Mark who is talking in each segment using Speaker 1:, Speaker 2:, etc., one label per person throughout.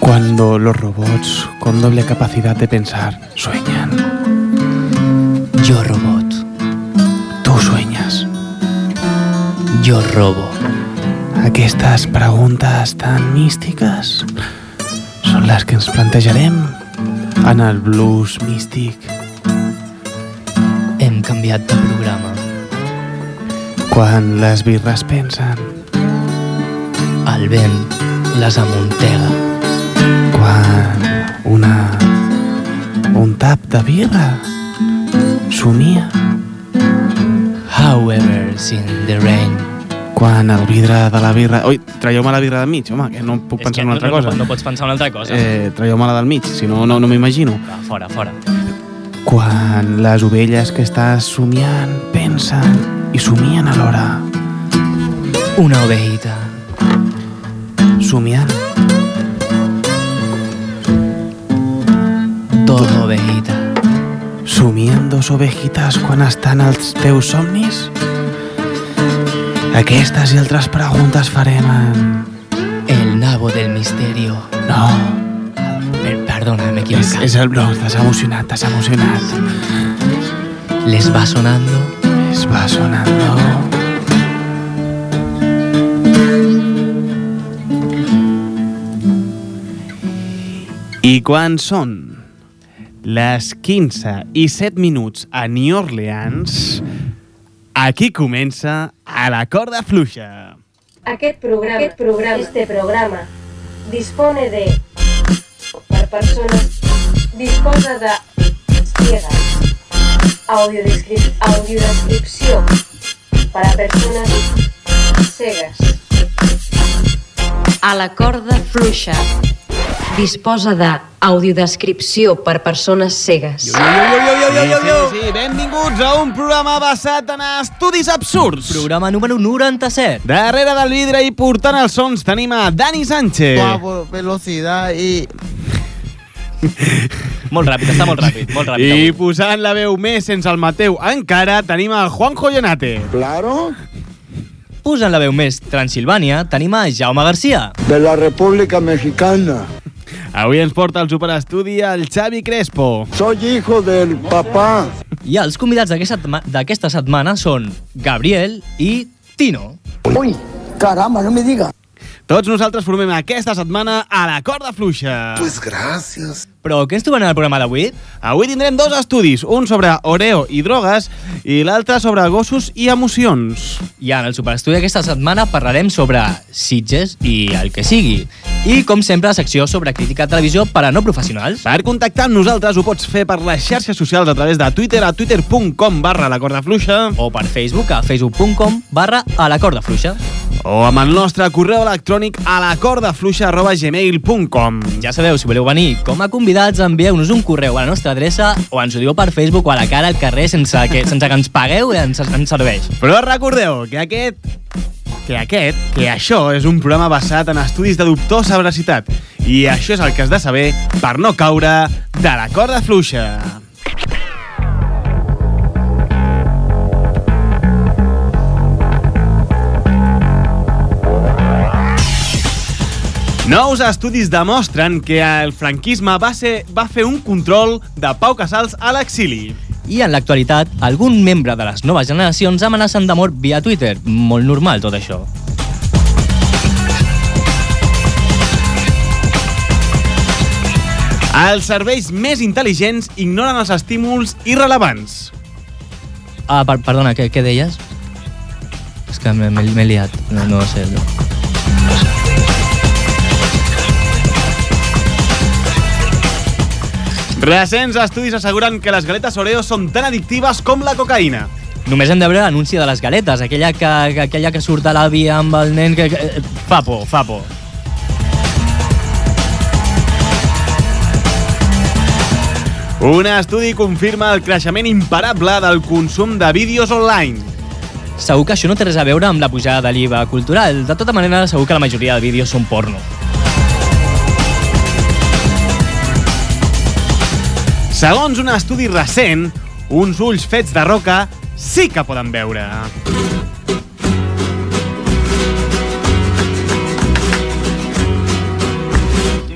Speaker 1: cuando los robots con doble capacidad de pensar sueñan.
Speaker 2: Yo robot.
Speaker 1: Tú sueñas.
Speaker 2: Yo robo.
Speaker 1: Aquestes preguntes tan místiques són les que ens plantejarem en el blues místic
Speaker 2: Hem canviat de programa.
Speaker 1: quan les birres pensen,
Speaker 2: El vent les amuntega.
Speaker 1: quan una un tap de birra somia,
Speaker 2: However, in the rain.
Speaker 1: quan el vidre de la birra... Ui, traieu-me la birra del mig, home, que no puc
Speaker 3: És
Speaker 1: pensar
Speaker 3: que
Speaker 1: en una altra
Speaker 3: no, no-
Speaker 1: cosa.
Speaker 3: No, pots pensar en una altra cosa.
Speaker 1: Eh, traieu-me la del mig, si no, no, no m'imagino.
Speaker 3: Va, fora, fora.
Speaker 1: Quan les ovelles que estàs somiant pensen i somien alhora.
Speaker 2: Una ovejita.
Speaker 1: Somiant,
Speaker 2: Todo ovejita.
Speaker 1: somien dos ovejites quan estan als teus somnis? Aquestes i altres preguntes farem en...
Speaker 2: El nabo del misterio.
Speaker 1: No,
Speaker 2: Per perdona, m'he
Speaker 1: és,
Speaker 2: equivocat.
Speaker 1: és el blog, t'has emocionat, t'has emocionat.
Speaker 2: Les va sonando
Speaker 1: Es va sonando. I quan són les 15 i 7 minuts a New Orleans, aquí comença a la corda fluixa.
Speaker 4: Aquest programa, aquest programa, este programa, dispone de... Per persones, disposa de... Ciega. Audiodescrip, audiodescripció. Para persones cegas.
Speaker 5: A la corda fluixa. Disposa de audiodescripció per persones cegues.
Speaker 1: Sí, sí, benvinguts a un programa basat en estudis absurds.
Speaker 2: Programa número 97.
Speaker 1: Darrere del vidre i portant els sons tenim a Dani Sánchez.
Speaker 6: Guapo, velocidad y
Speaker 3: Molt ràpid, està molt ràpid, molt ràpid.
Speaker 1: I
Speaker 3: avui.
Speaker 1: posant la veu més sense el Mateu encara, tenim el Juanjo Jonate.
Speaker 7: Claro,
Speaker 2: Posant la veu més Transilvània, tenim a Jaume Garcia.
Speaker 7: de la República Mexicana.
Speaker 1: Avui ens porta al superestudi el Xavi Crespo.
Speaker 7: Soy hijo del papá.
Speaker 2: I els convidats d'aquesta setma- d'aquesta setmana són Gabriel i Tino.
Speaker 7: Uy, caramba, no me diga.
Speaker 1: Tots nosaltres formem aquesta setmana a la corda fluixa.
Speaker 7: gracias.
Speaker 2: Però què ens trobem en el programa d'avui?
Speaker 1: Avui tindrem dos estudis, un sobre Oreo i drogues i l'altre sobre gossos i emocions.
Speaker 2: I en el superestudi aquesta setmana parlarem sobre Sitges i el que sigui. I, com sempre, la secció sobre crítica a televisió per a no professionals.
Speaker 1: Per contactar amb nosaltres ho pots fer per les xarxes socials a través de Twitter a twitter.com barra la corda fluixa
Speaker 2: O per Facebook a facebook.com barra a la corda fluixa.
Speaker 1: o amb el nostre correu electrònic a la corda fluixa arroba gmail.com.
Speaker 2: Ja sabeu, si voleu venir com a convidats, envieu-nos un correu a la nostra adreça o ens ho diu per Facebook o a la cara al carrer sense que, sense que ens pagueu i ens, ens serveix.
Speaker 1: Però recordeu que aquest que aquest, que això és un programa basat en estudis de dubtosa veracitat. I això és el que has de saber per no caure de la corda fluixa. Nous estudis demostren que el franquisme va, ser, va fer un control de Pau Casals a l'exili.
Speaker 2: I en l'actualitat, algun membre de les noves generacions amenacen de mort via Twitter. Molt normal tot això.
Speaker 1: Els serveis més intel·ligents ignoren els estímuls irrelevants.
Speaker 2: Ah, per, perdona, què, què deies? És que m'he- m'he m'he liat. No, no sé. No.
Speaker 1: Recents estudis asseguren que les galetes Oreo són tan addictives com la cocaïna.
Speaker 2: Només hem de veure l'anunci de les galetes, aquella que, que- aquella que surt a l'avi amb el nen que... que eh, fa por, fa por.
Speaker 1: Un estudi confirma el creixement imparable del consum de vídeos online.
Speaker 2: Segur que això no té res a veure amb la pujada de l'IVA cultural. De tota manera, segur que la majoria de vídeos són porno.
Speaker 1: Segons un estudi recent, uns ulls fets de roca sí que poden veure.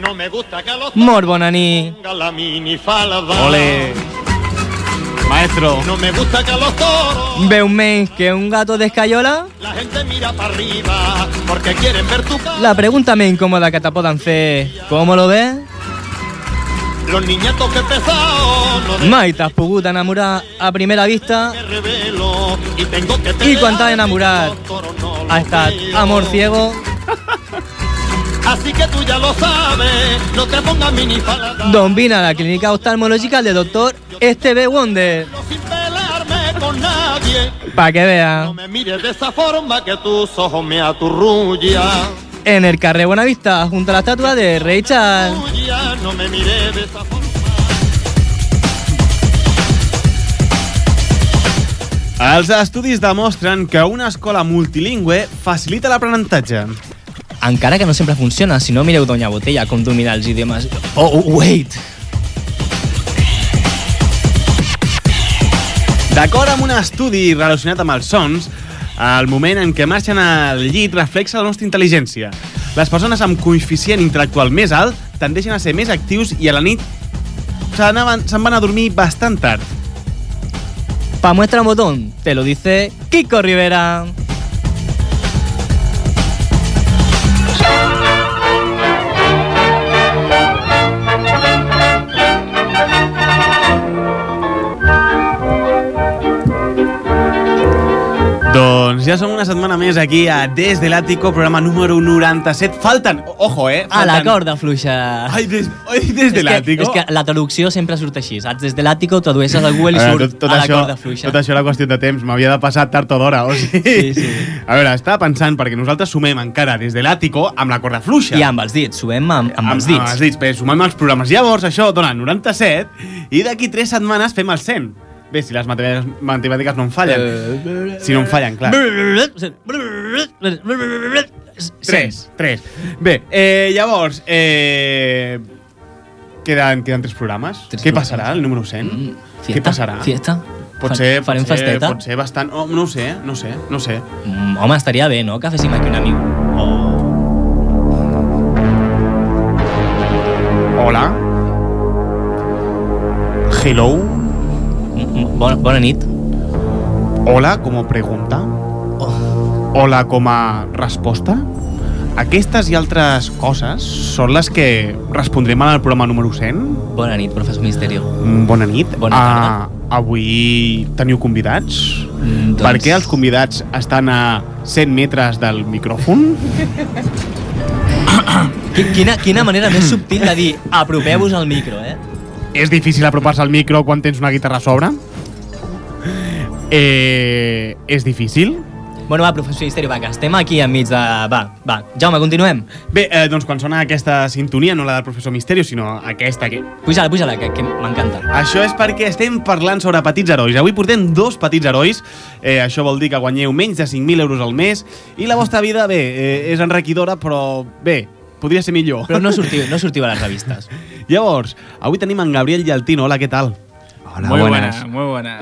Speaker 8: No me gusta.
Speaker 7: gusta que los
Speaker 2: Molt bona nit.
Speaker 7: tenga la minifalda.
Speaker 1: Ole. Maestro.
Speaker 7: No me gusta que los toros
Speaker 2: Veu menys que un gato d'escaiola?
Speaker 7: la gente mira para arriba porque quieren ver tu cara.
Speaker 2: La pregunta més incòmoda que te poden fer, com lo ves?
Speaker 7: Los niñatos que pesados no de
Speaker 2: Mai t'has pogut enamorar a primera vista
Speaker 7: me revelo y tengo que
Speaker 2: i
Speaker 7: pelear
Speaker 2: quan t'has enamorat
Speaker 7: los toros no los
Speaker 2: ha estat
Speaker 7: veo.
Speaker 2: amor ciego.
Speaker 7: Así que tú ya lo sabes, no te pongas minifalda.
Speaker 2: Doncs vine a la clínica oftalmològica del doctor Esteve Wonder
Speaker 7: Sin pelarme con nadie.
Speaker 2: pa que vea
Speaker 7: No me mires de esa forma que tus ojos me aturrullan.
Speaker 2: en el carrer Buenavista junto a la estatua de Rey Charles.
Speaker 7: Tuya, no me mires de esa forma.
Speaker 1: Els estudis demostren que una escola multilingüe facilita l'aprenentatge.
Speaker 2: Encara que no sempre funciona, si no mireu Doña Botella com domina els idiomes. Oh, wait!
Speaker 1: D'acord amb un estudi relacionat amb els sons, el moment en què marxen al llit reflexa la nostra intel·ligència. Les persones amb coeficient intel·lectual més alt tendeixen a ser més actius i a la nit se'n van, se'n van a dormir bastant tard.
Speaker 2: Pa muestra un botón, te lo dice Kiko Rivera.
Speaker 1: Doncs ja som una setmana més aquí a Des de l'Àtico, programa número 97. Falten, ojo, eh?
Speaker 2: A
Speaker 1: Falten.
Speaker 2: la corda fluixa.
Speaker 1: Ai, des, ai, des de
Speaker 2: és que,
Speaker 1: l'Àtico.
Speaker 2: és que la traducció sempre surt així, saps? Des de l'àtico tradueixes a Google i
Speaker 1: veure,
Speaker 2: surt tot, a la corda fluixa.
Speaker 1: Tot això era qüestió de temps, m'havia de passar tard o d'hora, o sigui...
Speaker 2: Sí, sí.
Speaker 1: A veure, estava pensant, perquè nosaltres sumem encara des de l'àtico amb la corda fluixa.
Speaker 2: I amb els dits, suem amb, amb, els
Speaker 1: Amb els
Speaker 2: dits.
Speaker 1: dits, bé, sumem els programes. Llavors, això dona 97 i d'aquí 3 setmanes fem el 100. Bé, si les matemàtiques, matemàtiques no em fallen.
Speaker 2: Eh,
Speaker 1: Si no em fallen, clar.
Speaker 2: Tres.
Speaker 1: 3, 3. Bé, eh, llavors, eh, queden, queden 3 programes.
Speaker 2: Tres
Speaker 1: Què
Speaker 2: programes. Mm,
Speaker 1: passarà, el número 100?
Speaker 2: Fiesta,
Speaker 1: Què passarà?
Speaker 2: Fiesta. Fa-
Speaker 1: Potser,
Speaker 2: Farem
Speaker 1: potser,
Speaker 2: festeta.
Speaker 1: potser bastant... Oh, no ho sé, no ho sé, no ho sé.
Speaker 2: Mm, Home, estaria bé, no?, que féssim aquí un amic.
Speaker 1: Hola. Hello.
Speaker 2: Bona, bona nit.
Speaker 1: Hola com a pregunta.
Speaker 2: Oh.
Speaker 1: Hola com a resposta. Aquestes i altres coses són les que respondrem en el programa número 100.
Speaker 2: Bona nit, professor Misterio.
Speaker 1: Mm, Bona nit.
Speaker 2: Bona tarda.
Speaker 1: Ah, avui teniu convidats?
Speaker 2: Mm, doncs-
Speaker 1: Per què els convidats estan a 100 metres del micròfon?
Speaker 2: Qui- Quina, quina manera més subtil de dir apropeu-vos al micro, eh?
Speaker 1: És difícil apropar-se al micro quan tens una guitarra a sobre? Eh, és difícil?
Speaker 2: Bueno, va, professor Misterio, va, que estem aquí enmig de... Va, va. Jaume, continuem.
Speaker 1: Bé, eh, doncs quan sona aquesta sintonia, no la del professor Misterio, sinó aquesta que...
Speaker 2: Puja-la, puja-la, que, que m'encanta.
Speaker 1: Això és perquè estem parlant sobre petits herois. Avui portem dos petits herois. Eh, això vol dir que guanyeu menys de 5.000 euros al mes i la vostra vida, bé, eh, és enriquidora, però bé, podria ser millor.
Speaker 2: Però no sortiu, no sortiu a les revistes.
Speaker 1: Llavors, avui tenim en Gabriel Llaltino. Hola, què tal?
Speaker 3: Hola,
Speaker 6: Muy
Speaker 3: buenas.
Speaker 6: buena, muy buena.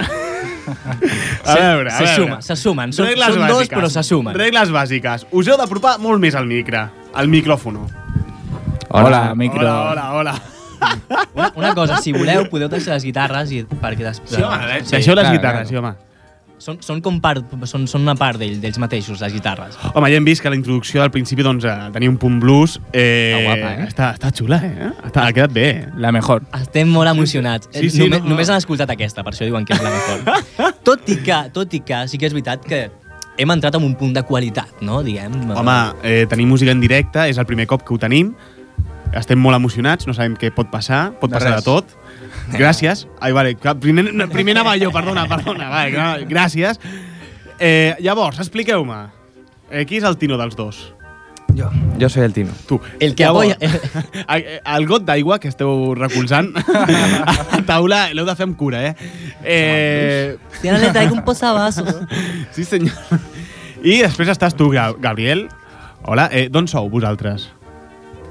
Speaker 1: A veure,
Speaker 2: se suma, se sumen. Són,
Speaker 1: Regles
Speaker 2: són dos,
Speaker 1: bàsiques.
Speaker 2: però se sumen.
Speaker 1: Regles bàsiques. Us heu d'apropar molt més al micro, al micròfon.
Speaker 6: Hola, micro.
Speaker 1: Hola, hola, hola.
Speaker 2: Una, una cosa, si voleu, podeu deixar les guitarres i perquè després...
Speaker 1: Sí, Deixeu les
Speaker 6: claro, claro.
Speaker 1: guitarres, sí, home.
Speaker 2: Són, són com part, són, són una part d'ell, d'ells mateixos, les guitarres.
Speaker 1: Home, ja hem vist que la introducció al principi doncs, eh, tenia un punt blues. Eh,
Speaker 6: Està guapa, eh?
Speaker 1: Està, està xula, eh? Està, ha quedat bé. eh?
Speaker 6: La mejor.
Speaker 2: Estem molt emocionats.
Speaker 1: Sí, sí,
Speaker 2: només,
Speaker 1: no, no.
Speaker 2: només han escoltat aquesta, per això diuen que és la mejor. tot i que, tot i que, sí que és veritat que hem entrat en un punt de qualitat, no?, diguem.
Speaker 1: Home, eh, tenim música en directe, és el primer cop que ho tenim. Estem molt emocionats, no sabem què pot passar, pot
Speaker 6: De
Speaker 1: passar
Speaker 6: res.
Speaker 1: de tot. Gràcies. Ai, vale, clar, primer, no, primer anava jo, perdona, perdona. Vale, gra- gràcies. Eh, llavors, expliqueu-me. Eh, qui és el Tino dels dos?
Speaker 3: Yo, yo soy el Tino.
Speaker 1: Tu.
Speaker 2: El que
Speaker 1: Llavors,
Speaker 2: apoya-
Speaker 1: eh, El got d'aigua que esteu recolzant a taula l'heu de fer amb cura, eh? eh
Speaker 2: Si ara li traic un posavasos.
Speaker 1: sí, senyor. I després estàs tu, Ga- Gabriel. Hola, eh, d'on sou vosaltres?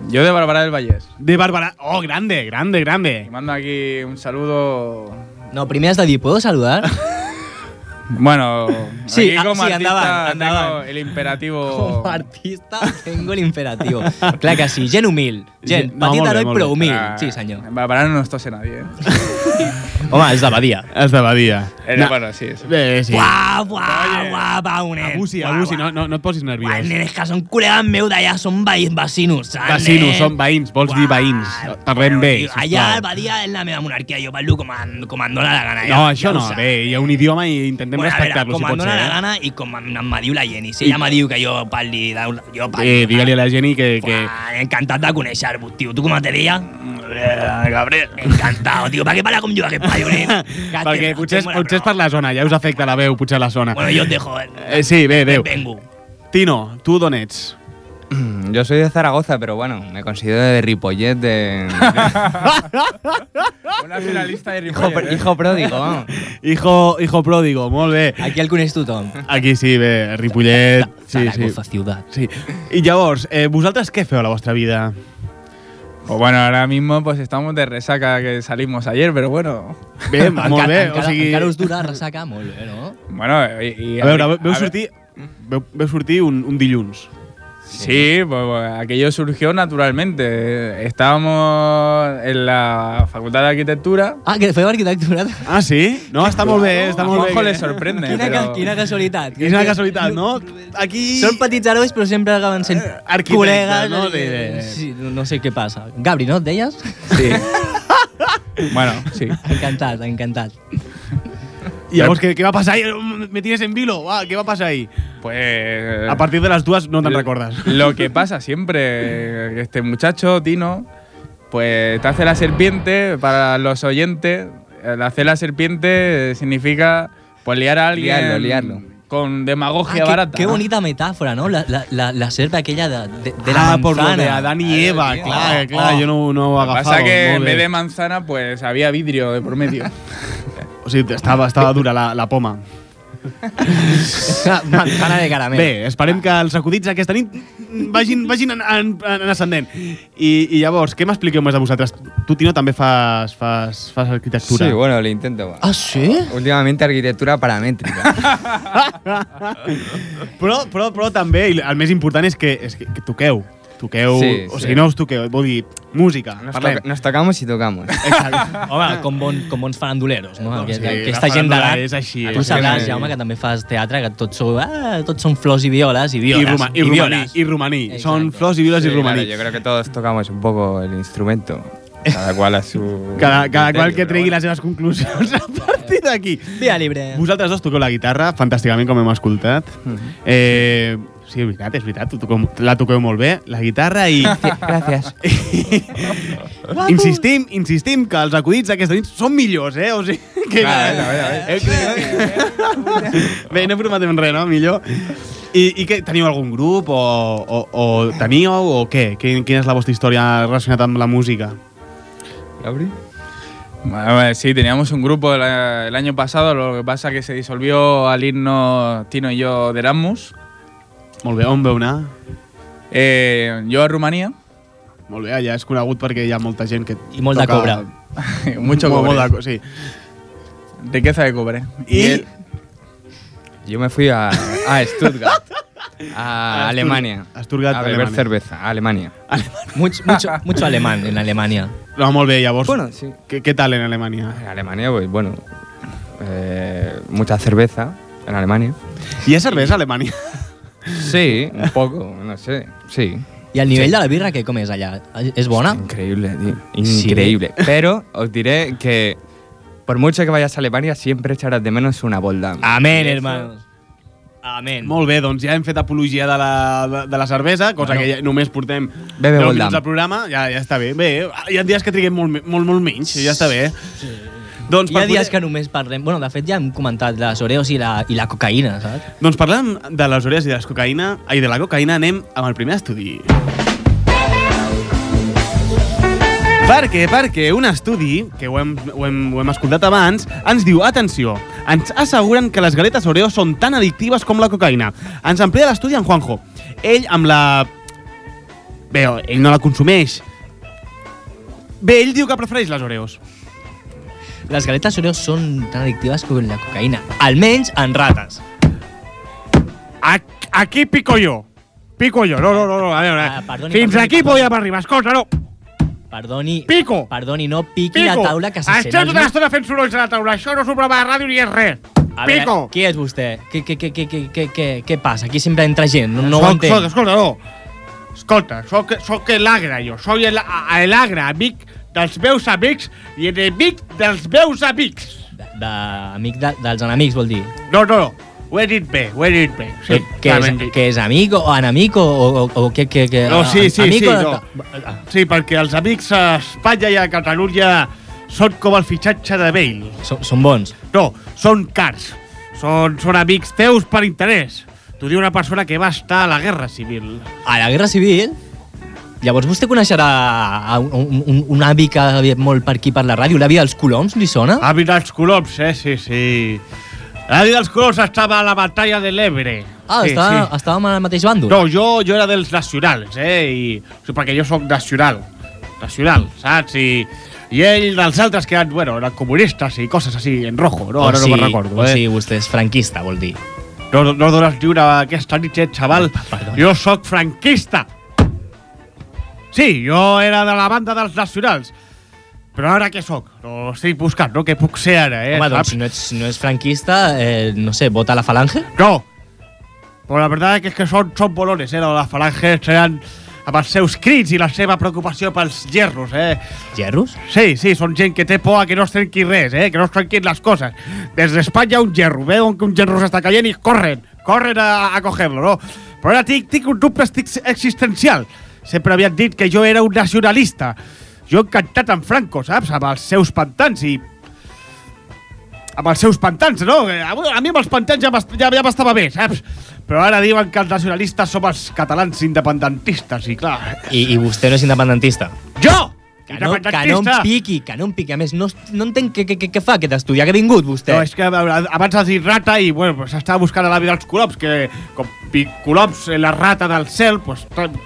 Speaker 6: Yo de Barbará del Vallés.
Speaker 1: De Bárbara. Oh, grande, grande, grande.
Speaker 6: Y mando aquí un saludo.
Speaker 2: No, primer has de dir, ¿puedo saludar?
Speaker 6: Bueno,
Speaker 9: Sí,
Speaker 6: aquí
Speaker 9: ah,
Speaker 6: como
Speaker 9: sí,
Speaker 6: artista
Speaker 9: endavant,
Speaker 6: tengo
Speaker 9: endavant.
Speaker 6: el imperativo...
Speaker 9: Com a artista tengo el imperativo. Clar que sí, gent humil. Gent
Speaker 1: No, molt
Speaker 9: petita
Speaker 1: bé,
Speaker 9: no,
Speaker 1: molt
Speaker 9: però
Speaker 1: bé.
Speaker 9: humil.
Speaker 6: Ah,
Speaker 9: Sí, senyor.
Speaker 6: Va, Para no nos tose nadie. ¿eh?
Speaker 9: Home, és de Badia.
Speaker 1: Es de Badia.
Speaker 6: Era bueno, sí. sí.
Speaker 1: Bé, sí.
Speaker 9: Buah, buah, buah, Paunet.
Speaker 1: Abusi, abusi, no, no, no et posis
Speaker 9: Buah,
Speaker 1: nerviós.
Speaker 9: nenes, que són col·legues meus d'allà, són veïns, vecinos, saps?
Speaker 1: Vecinos,
Speaker 9: nen?
Speaker 1: són veïns, vols dir veïns. Parlem bé,
Speaker 9: Tio, Allà al
Speaker 1: sisplau.
Speaker 9: Badia és la meva monarquia, jo parlo com, en, com em dóna la gana.
Speaker 1: No,
Speaker 9: ja-
Speaker 1: això
Speaker 9: ja ho
Speaker 1: no.
Speaker 9: saps.
Speaker 1: Bé, hi ha un idioma i intentem
Speaker 9: Bueno, a veure,
Speaker 1: respectar-lo, si
Speaker 9: com em
Speaker 1: pot
Speaker 9: dóna
Speaker 1: ser.
Speaker 9: la
Speaker 1: eh?
Speaker 9: gana i com em, em diu la Jenny. Si ella me diu que jo parli... De, jo parli
Speaker 1: Eh, Digue-li a la Jenny que... que...
Speaker 9: Buah, encantat de conèixer-vos, tio. Tu com et deies? Gabriel. Encantado, tio. Per què parla com jo, aquest paio, nen? Que
Speaker 1: Perquè
Speaker 9: estem-
Speaker 1: potser,
Speaker 9: estem molt a
Speaker 1: potser és
Speaker 9: prop.
Speaker 1: per la zona, ja us afecta la veu, potser la zona.
Speaker 9: Bueno, yo os dejo. eh.
Speaker 1: Eh, sí, bé, adéu.
Speaker 9: Vengo.
Speaker 1: Tino, tu d'on ets?
Speaker 10: Mm, Yo soy de Zaragoza, pero bueno, me considero de Ripollet de...
Speaker 6: Una finalista de
Speaker 10: hijo,
Speaker 6: Ripollet, ¿eh?
Speaker 10: hijo pródigo, vamos.
Speaker 1: Hijo, hijo pródigo, molt bé.
Speaker 9: Aquí el coneix tothom.
Speaker 1: Aquí sí, bé, Ripollet... Sí, sí.
Speaker 9: Zaragoza ciutat.
Speaker 1: sí. I llavors, eh, vosaltres què feu a la vostra vida?
Speaker 6: Pues bueno, ahora mismo pues estamos de resaca que salimos ayer, pero bueno.
Speaker 1: Bé, molt bé, o
Speaker 9: encara,
Speaker 1: sigui...
Speaker 9: encara us dura ressaca molt bé, no?
Speaker 6: Bueno, y, y-
Speaker 1: A veure, veu
Speaker 6: ver-
Speaker 1: sortir, veu, veu sortir un, un dilluns.
Speaker 6: Sí, pues, pues, aquello surgió naturalmente. Estábamos en la Facultad de Arquitectura. Pues,
Speaker 9: Ah, que feu arquitectura?
Speaker 1: Ah, sí? No, està molt bé, està
Speaker 6: A
Speaker 1: molt
Speaker 6: Juanjo
Speaker 1: bé.
Speaker 6: le sorprende.
Speaker 9: Quina,
Speaker 6: pero-
Speaker 9: ca- quina casualitat.
Speaker 1: És una casualitat, no? Aquí...
Speaker 9: Són petits herois, però sempre acaben sent
Speaker 1: Arquitectes,
Speaker 9: col·legues.
Speaker 1: no?
Speaker 9: eh,
Speaker 1: De- de-
Speaker 9: Sí, no sé què passa. Gabri, no? Et deies?
Speaker 6: Sí. bueno, sí.
Speaker 9: encantat, encantat.
Speaker 1: I llavors, què, què va passar ahir? Me tienes en vilo. Ah, què va passar ahir?
Speaker 6: Pues.
Speaker 1: A partir de les dues no te'n
Speaker 10: eh,
Speaker 6: lo-
Speaker 1: recordes.
Speaker 6: Lo que pasa siempre, que este muchacho, Tino, pues te hace la serpiente para los oyentes. El hacer la serpiente eh, significa pues liar a alguien.
Speaker 10: Liarlo, liarlo.
Speaker 6: Con demagogia
Speaker 9: Oh, Ah,
Speaker 1: Ah,
Speaker 9: qué,
Speaker 6: barata.
Speaker 9: qué bonita metáfora, ¿no? La, la, la, la serpa aquella de, de, de la
Speaker 1: ah,
Speaker 9: manzana.
Speaker 1: por lo de Adán y Eva, clar, clar, jo no, no ho
Speaker 6: Lo que
Speaker 1: agafava.
Speaker 6: pasa que
Speaker 1: molt
Speaker 6: en
Speaker 1: bé.
Speaker 6: vez de manzana, pues había vidrio de por medio.
Speaker 1: O sigui, estava, estava dura la, la poma.
Speaker 9: Manzana de caramel.
Speaker 1: Bé, esperem que els acudits aquesta nit vagin, vagin en, en, en ascendent. I, I llavors, què m'expliqueu més de vosaltres? Tu, Tino, també fas, fas, fas arquitectura.
Speaker 10: Sí, bueno, lo intento.
Speaker 9: ¿Ah, sí?
Speaker 10: Últimamente arquitectura paramétrica.
Speaker 1: Però, però, però també, i el més important és que, és que, que toqueu. Toqueu, sí,
Speaker 10: Sí,
Speaker 1: o
Speaker 10: sí.
Speaker 1: sigui, no us toqueu, vol dir música,
Speaker 10: Nos,
Speaker 1: parlem.
Speaker 10: toca- nos tocamos y tocamos.
Speaker 9: Home, com, bon, com bons faranduleros, no? Aquest,
Speaker 1: sí,
Speaker 9: aquesta
Speaker 1: la
Speaker 9: gent de
Speaker 1: farandola
Speaker 9: l'art.
Speaker 1: és així,
Speaker 9: Tu
Speaker 1: és
Speaker 9: sabràs,
Speaker 10: així.
Speaker 9: Jaume, que també fas teatre, que tots són, ah, tots són flors i violes i
Speaker 1: I,
Speaker 9: violes.
Speaker 1: roma, i, romaní,
Speaker 9: violes.
Speaker 1: i romaní.
Speaker 9: Exacte.
Speaker 1: Són flors i violes
Speaker 10: Sí,
Speaker 1: i
Speaker 10: claro,
Speaker 1: romaní.
Speaker 10: yo creo que todos tocamos un poco el instrumento. Cada cual a su.
Speaker 1: Cada, cada qual
Speaker 10: criterio,
Speaker 1: que
Speaker 10: pero
Speaker 1: tregui les seves conclusions a partir d'aquí.
Speaker 9: Eh, Via libre.
Speaker 1: Vosaltres dos toqueu la guitarra, fantàsticament, com hem escoltat. eh, sí, és veritat, és veritat, ho toqueu, la toqueu molt bé, la guitarra, i...
Speaker 10: Gracias.
Speaker 1: insistim, insistim que els acudits d'aquesta nit són millors, eh? O sigui, que...
Speaker 6: Ah, a veure, a veure.
Speaker 1: Eh, que- bé, no prometem res, no? Millor. I, i què, teniu algun grup o, o, o teníeu o què? Quin- Quina és la vostra història relacionada amb la música?
Speaker 10: ¿Gabri?
Speaker 6: Bueno, eh, sí, teníamos un grupo el, eh, el año pasado, lo que pasa que se disolvió al irnos Tino y yo de Erasmus.
Speaker 1: Molt bé, on veu anar?
Speaker 6: Eh, yo a Rumanía.
Speaker 1: Molt bé, allà és conegut perquè hi ha molta gent que...
Speaker 9: I molt de
Speaker 1: toca-
Speaker 9: cobre.
Speaker 6: Mucho
Speaker 1: Molt,
Speaker 6: cobre.
Speaker 1: molt de co- sí.
Speaker 6: Riqueza de cobre.
Speaker 1: I,
Speaker 6: el-
Speaker 10: Yo me fui a, a Stuttgart, a,
Speaker 2: Ah.
Speaker 1: A Astur-
Speaker 10: Alemania.
Speaker 1: a Stuttgart,
Speaker 10: a beber
Speaker 1: Alemania.
Speaker 10: cerveza, a Alemania.
Speaker 9: Mucho, mucho, mucho alemán en Alemania.
Speaker 1: No, molt bé, llavors.
Speaker 10: Bueno, sí.
Speaker 1: Què, què tal en Alemanya?
Speaker 10: En Alemania, pues bueno, eh, mucha cerveza en Alemania.
Speaker 1: Hi ha cervesa a Alemanya?
Speaker 10: Sí, un poco, no sé, sí.
Speaker 9: I el nivell de la birra, què com és allà? És bona?
Speaker 10: Increíble, tío.
Speaker 9: Sí.
Speaker 10: Increíble. Pero os diré que por mucho que vayas a Alemania, siempre echarás de menos una bolda.
Speaker 9: Amén, hermanos. Amén.
Speaker 1: Molt bé, doncs ja hem fet apologia de la, de, de la cervesa, cosa bueno. que ja només portem
Speaker 10: Bebe
Speaker 1: 10
Speaker 10: Boldam.
Speaker 1: minuts al programa, ja, ja està bé. Bé, hi ha dies que triguem molt, me- molt, molt menys, ja està bé. Sí. Doncs,
Speaker 9: Hi ha
Speaker 1: per
Speaker 9: dies que
Speaker 1: poder,
Speaker 9: només parlem... Bueno, de fet, ja hem comentat les Oreos i la, i la cocaïna, saps?
Speaker 1: que... doncs parlant de les orelles i de la cocaïna, ai, de la cocaïna, anem amb el primer estudi. Perquè, perquè un estudi, que ho hem, ho, hem, ho hem escoltat abans, ens diu, atenció, ens asseguren que les galetes Oreo són tan addictives com la cocaïna. Ens amplia l'estudi en Juanjo. Ell amb la... Bé, ell no la consumeix. Bé, ell diu que prefereix les Oreos.
Speaker 2: les galetes Oreo són tan adictives com la cocaïna, almenys en rates.
Speaker 1: Ac- Aquí pico jo. Pico jo. No, no, no. no. A veure,
Speaker 2: Ah, perdoni,
Speaker 1: fins
Speaker 2: perdoni,
Speaker 1: aquí podíem arribar. Escolta, no.
Speaker 2: Perdoni,
Speaker 1: Pico.
Speaker 2: perdoni, no piqui
Speaker 1: Pico.
Speaker 2: la taula que se sent.
Speaker 1: Estem
Speaker 2: els
Speaker 1: tota
Speaker 2: meus-
Speaker 1: l'estona fent sorolls a la taula. Això no és un programa de ràdio ni és res.
Speaker 2: A veure,
Speaker 1: Pico.
Speaker 2: qui és vostè? Què, què, què, què, què- què, què, què passa? Aquí sempre entra gent, no, no ho
Speaker 1: Escolta,
Speaker 2: entenc.
Speaker 1: Escolta, escolta, no. Escolta, soc, soc el agre, jo. Soy el, a- el agre, amic dels meus amics i enemic dels meus amics.
Speaker 2: De, amic de, dels enemics, vol dir. Eh,
Speaker 1: No, no, no. Ho he dit bé, ho he dit bé. Sí,
Speaker 2: que,
Speaker 1: clarament
Speaker 2: és, que és amic o enemic o, o, o, o què, què, què...
Speaker 1: No, sí, sí,
Speaker 2: eh, amic
Speaker 1: sí,
Speaker 2: o de-
Speaker 1: no. Sí, perquè els amics a Espanya i a Catalunya són com el fitxatge de Bale.
Speaker 2: Són, són bons.
Speaker 1: No, són cars. Són, són amics teus per interès. T'ho diu una persona que va estar a la Guerra Civil.
Speaker 2: A la Guerra Civil, llavors vostè coneixerà a un, un, un, un avi que ha dit molt per aquí per la ràdio, l'avi dels Coloms, li sona?
Speaker 1: Avi dels Coloms, eh? Sí, sí. L'avi dels Coloms estava a la batalla de l'Ebre.
Speaker 2: Ah,
Speaker 1: sí,
Speaker 2: està,
Speaker 1: sí.
Speaker 2: estàvem al mateix bàndol.
Speaker 1: No, jo, jo era dels nacionals, eh? I, o sigui, perquè jo sóc nacional. Nacional, saps? I, i ell dels altres que eren, bueno, eren comunistes i coses així, en rojo. No, ara
Speaker 2: o sigui,
Speaker 1: no me'n recordo,
Speaker 2: O
Speaker 1: eh?
Speaker 2: sigui, vostè és franquista, vol dir.
Speaker 1: No, no, no dones lliure aquesta nit, eh, xaval. Jo sóc franquista. Sí, jo era de la banda dels nacionals. Però ara què sóc? No estic buscant, no? Què puc ser ara, eh?
Speaker 2: Home, doncs,
Speaker 1: saps?
Speaker 2: si no ets, no ets franquista, eh, no sé, vota la falange?
Speaker 1: No. Però la veritat és que són, són bolones, eh? La falange seran amb els seus crits i la seva preocupació pels gerros, eh?
Speaker 2: Gerros?
Speaker 1: Sí, sí, són gent que té por a que no es trenqui res, eh? Que no es trenquin les coses. Des d'Espanya un gerro, veuen que un gerro s'està caient i corren, corren a, a coger-lo, no? Però ara tinc, tinc un dubte estic- existencial. Sempre havien dit que jo era un nacionalista. Jo he cantat en Franco, saps? Amb els seus pantans i amb els seus pantans, no? Eh, A mi amb els pantans ja m'est- ja ja m'estava bé, saps? Però ara diuen que els nacionalistes som els catalans independentistes, i clar... eh,
Speaker 2: I, I vostè no és independentista.
Speaker 1: Jo!
Speaker 2: Que no, que no em piqui, que no em piqui. A més, no, no entenc què, què, què, què fa aquest estudiar que ha vingut vostè.
Speaker 1: No, és que a veure, abans has dit rata i bueno, pues, s'estava buscant a l'avi dels colops, que com pi- colops, eh, la rata del cel, pues, tan...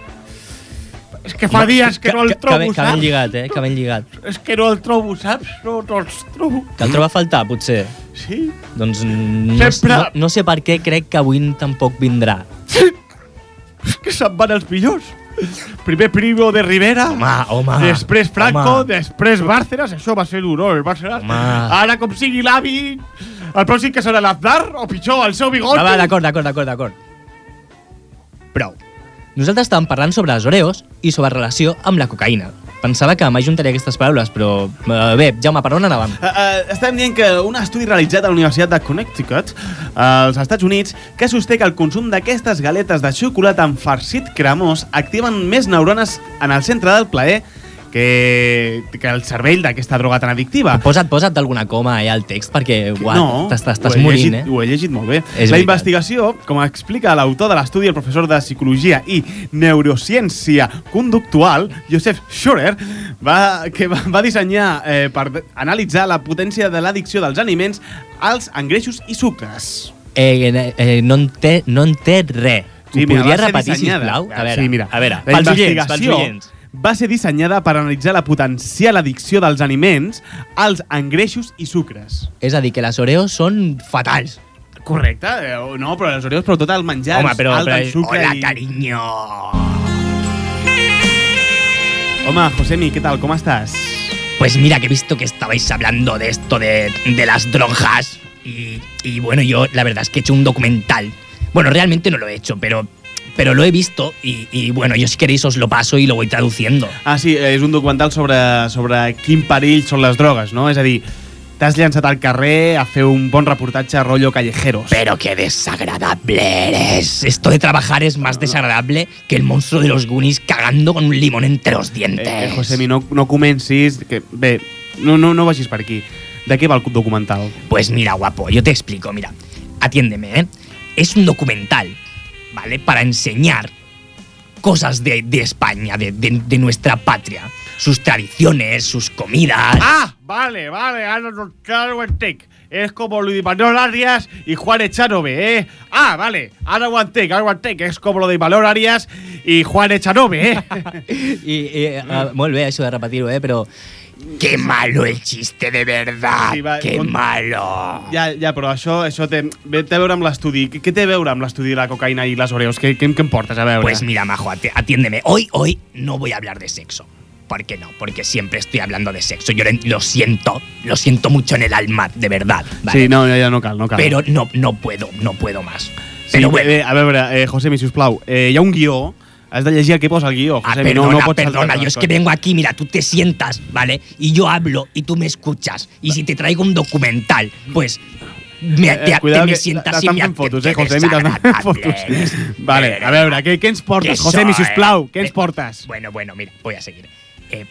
Speaker 1: és que fa dies que, no el
Speaker 2: que,
Speaker 1: trobo,
Speaker 2: ben- que ben
Speaker 1: saps?
Speaker 2: lligat, eh? Que ben lligat.
Speaker 1: és que no el trobo, saps? No, no els trobo.
Speaker 2: Que el troba a faltar, potser.
Speaker 1: Sí?
Speaker 2: Doncs mm, no,
Speaker 1: Sempre-
Speaker 2: no, no sé per què crec que avui tampoc vindrà.
Speaker 1: És que se'n van els millors. Primer Primo de Rivera,
Speaker 2: Home, home,
Speaker 1: després Franco,
Speaker 2: home.
Speaker 1: després Bárcenas, això va ser un honor, Bárcenas.
Speaker 2: Home.
Speaker 1: Ara, com sigui l'avi, el pròxim que serà l'Aznar, o pitjor, el seu bigot.
Speaker 2: Va, va, d'acord, d'acord, d'acord, d'acord. Prou. Nosaltres estàvem parlant sobre els oreos i sobre relació amb la cocaïna. Pensava que m'ajuntaria aquestes paraules, però... eh, Bé, Jaume, per on anàvem?
Speaker 9: Eh, eh, estem dient que un estudi realitzat a la Universitat de Connecticut, als Estats Units, que sosté que el consum d'aquestes galetes de xocolata amb farcit cremós activen més neurones en el centre del plaer que, que el cervell d'aquesta droga tan addictiva.
Speaker 2: Posa't, posa't alguna coma allà al text, perquè uah,
Speaker 9: No,
Speaker 2: t'estàs-
Speaker 9: ho
Speaker 2: t'estàs
Speaker 9: he
Speaker 2: morint,
Speaker 9: llegit,
Speaker 2: eh?
Speaker 9: Ho he llegit molt bé.
Speaker 2: És
Speaker 9: la
Speaker 2: veritat.
Speaker 9: investigació, com explica l'autor de l'estudi, el professor de Psicologia i Neurociència Conductual, Joseph Schurer, va, que va, va dissenyar eh, per de- analitzar la potència de l'addicció dels aliments als engreixos i sucres.
Speaker 2: Eh, eh, eh, no, en té, no en té res. Sí,
Speaker 9: mira, va
Speaker 2: mira, podria
Speaker 9: ser
Speaker 2: repetir,
Speaker 9: dissenyada.
Speaker 2: sisplau? A veure,
Speaker 9: sí, mira.
Speaker 2: a veure,
Speaker 9: la
Speaker 2: pels oients, pels
Speaker 9: investigació
Speaker 2: oients.
Speaker 9: va ser dissenyada per analitzar la potencial addicció dels aliments als engreixos i sucres.
Speaker 2: És a dir, que les oreos són fatals.
Speaker 9: Correcte, eh, o no, però les Oreos, però tot el menjar
Speaker 2: Home,
Speaker 9: és
Speaker 2: però...
Speaker 9: alt
Speaker 2: però
Speaker 9: en sucre
Speaker 2: hola,
Speaker 9: i...
Speaker 2: carinyo!
Speaker 9: Home, Josemi, què tal, com estàs?
Speaker 2: Pues mira, que he visto que estabais hablando de esto de, de las dronjas. Y, y bueno, yo la verdad es que he hecho un documental. Bueno, realmente no lo he hecho, pero, pero lo he visto. Y, y bueno, yo si queréis os lo paso y lo voy traduciendo.
Speaker 9: Ah, sí, eh, és un documental sobre, sobre quin perill són les drogues, no? És a dir, t'has llançat al carrer a fer un bon reportatge a rotllo callejeros.
Speaker 2: Pero qué desagradable eres. Esto de trabajar es más desagradable que el monstruo de los Goonies cagando con un limón entre los dientes.
Speaker 9: Eh, eh, Josemi, no, no comencis... Que, bé, no, no, no vagis per aquí. De què va el documental?
Speaker 2: Pues mira, guapo, yo te explico, mira. Atiéndeme, ¿eh? Es un documental, ¿vale? Para enseñar cosas de, de España, de, de- de nuestra patria. Sus tradiciones, sus comidas.
Speaker 1: Ah, vale, vale, ahora no, claro lo entenc. Es como Luis Manuel Arias y Juan Echanove, ¿eh? Ah, vale, ahora lo entenc, ahora lo entenc. Es como lo de Manuel Arias y Juan Echanove, ¿eh?
Speaker 9: Ah,
Speaker 2: eh,
Speaker 1: Mm.
Speaker 2: I, i, uh, molt bé això de repetir-ho, eh? però
Speaker 9: Qué malo el chiste, de verdad.
Speaker 1: Sí, va,
Speaker 9: Qué
Speaker 1: con-
Speaker 9: malo.
Speaker 1: Ja, ja, però això, això té, ve- té a veure amb l'estudi. Què què té a veure amb l'estudi de la cocaïna i les Oreos? Què, què, què em portes a veure?
Speaker 9: Pues mira, Majo, ati- atiéndeme. Hoy, hoy no voy a hablar de sexo. ¿Por qué no? Porque siempre estoy hablando de sexo. Yo le- lo siento, lo siento mucho en el alma, de verdad. ¿vale?
Speaker 1: Sí, no, ja, ja no cal, no cal.
Speaker 9: Pero no, no puedo, no puedo más.
Speaker 1: sí,
Speaker 9: Pero bueno.
Speaker 1: eh, eh, a veure, eh, José, si us plau, eh, hi ha un guió, has de llegir el que posa el guió,
Speaker 9: Ah,
Speaker 1: José,
Speaker 9: perdona,
Speaker 1: no, no pots
Speaker 9: perdona, yo es que vengo aquí, mira, tú te sientas, ¿vale? Y yo hablo y tú me escuchas. Y si te traigo un documental, pues
Speaker 1: Eh,
Speaker 9: me, te- te me sientas y me
Speaker 1: fent
Speaker 9: haces-
Speaker 1: fotos,
Speaker 9: te
Speaker 1: eh, José, mira,
Speaker 9: desagradable.
Speaker 1: t'estan fent fotos. Vale, a veure, què, què ens portes,
Speaker 9: Eso
Speaker 1: José, si us plau,
Speaker 9: es.
Speaker 1: què ens
Speaker 9: Eh,
Speaker 1: portes?
Speaker 9: Bueno, bueno, mira, voy a seguir. Eh,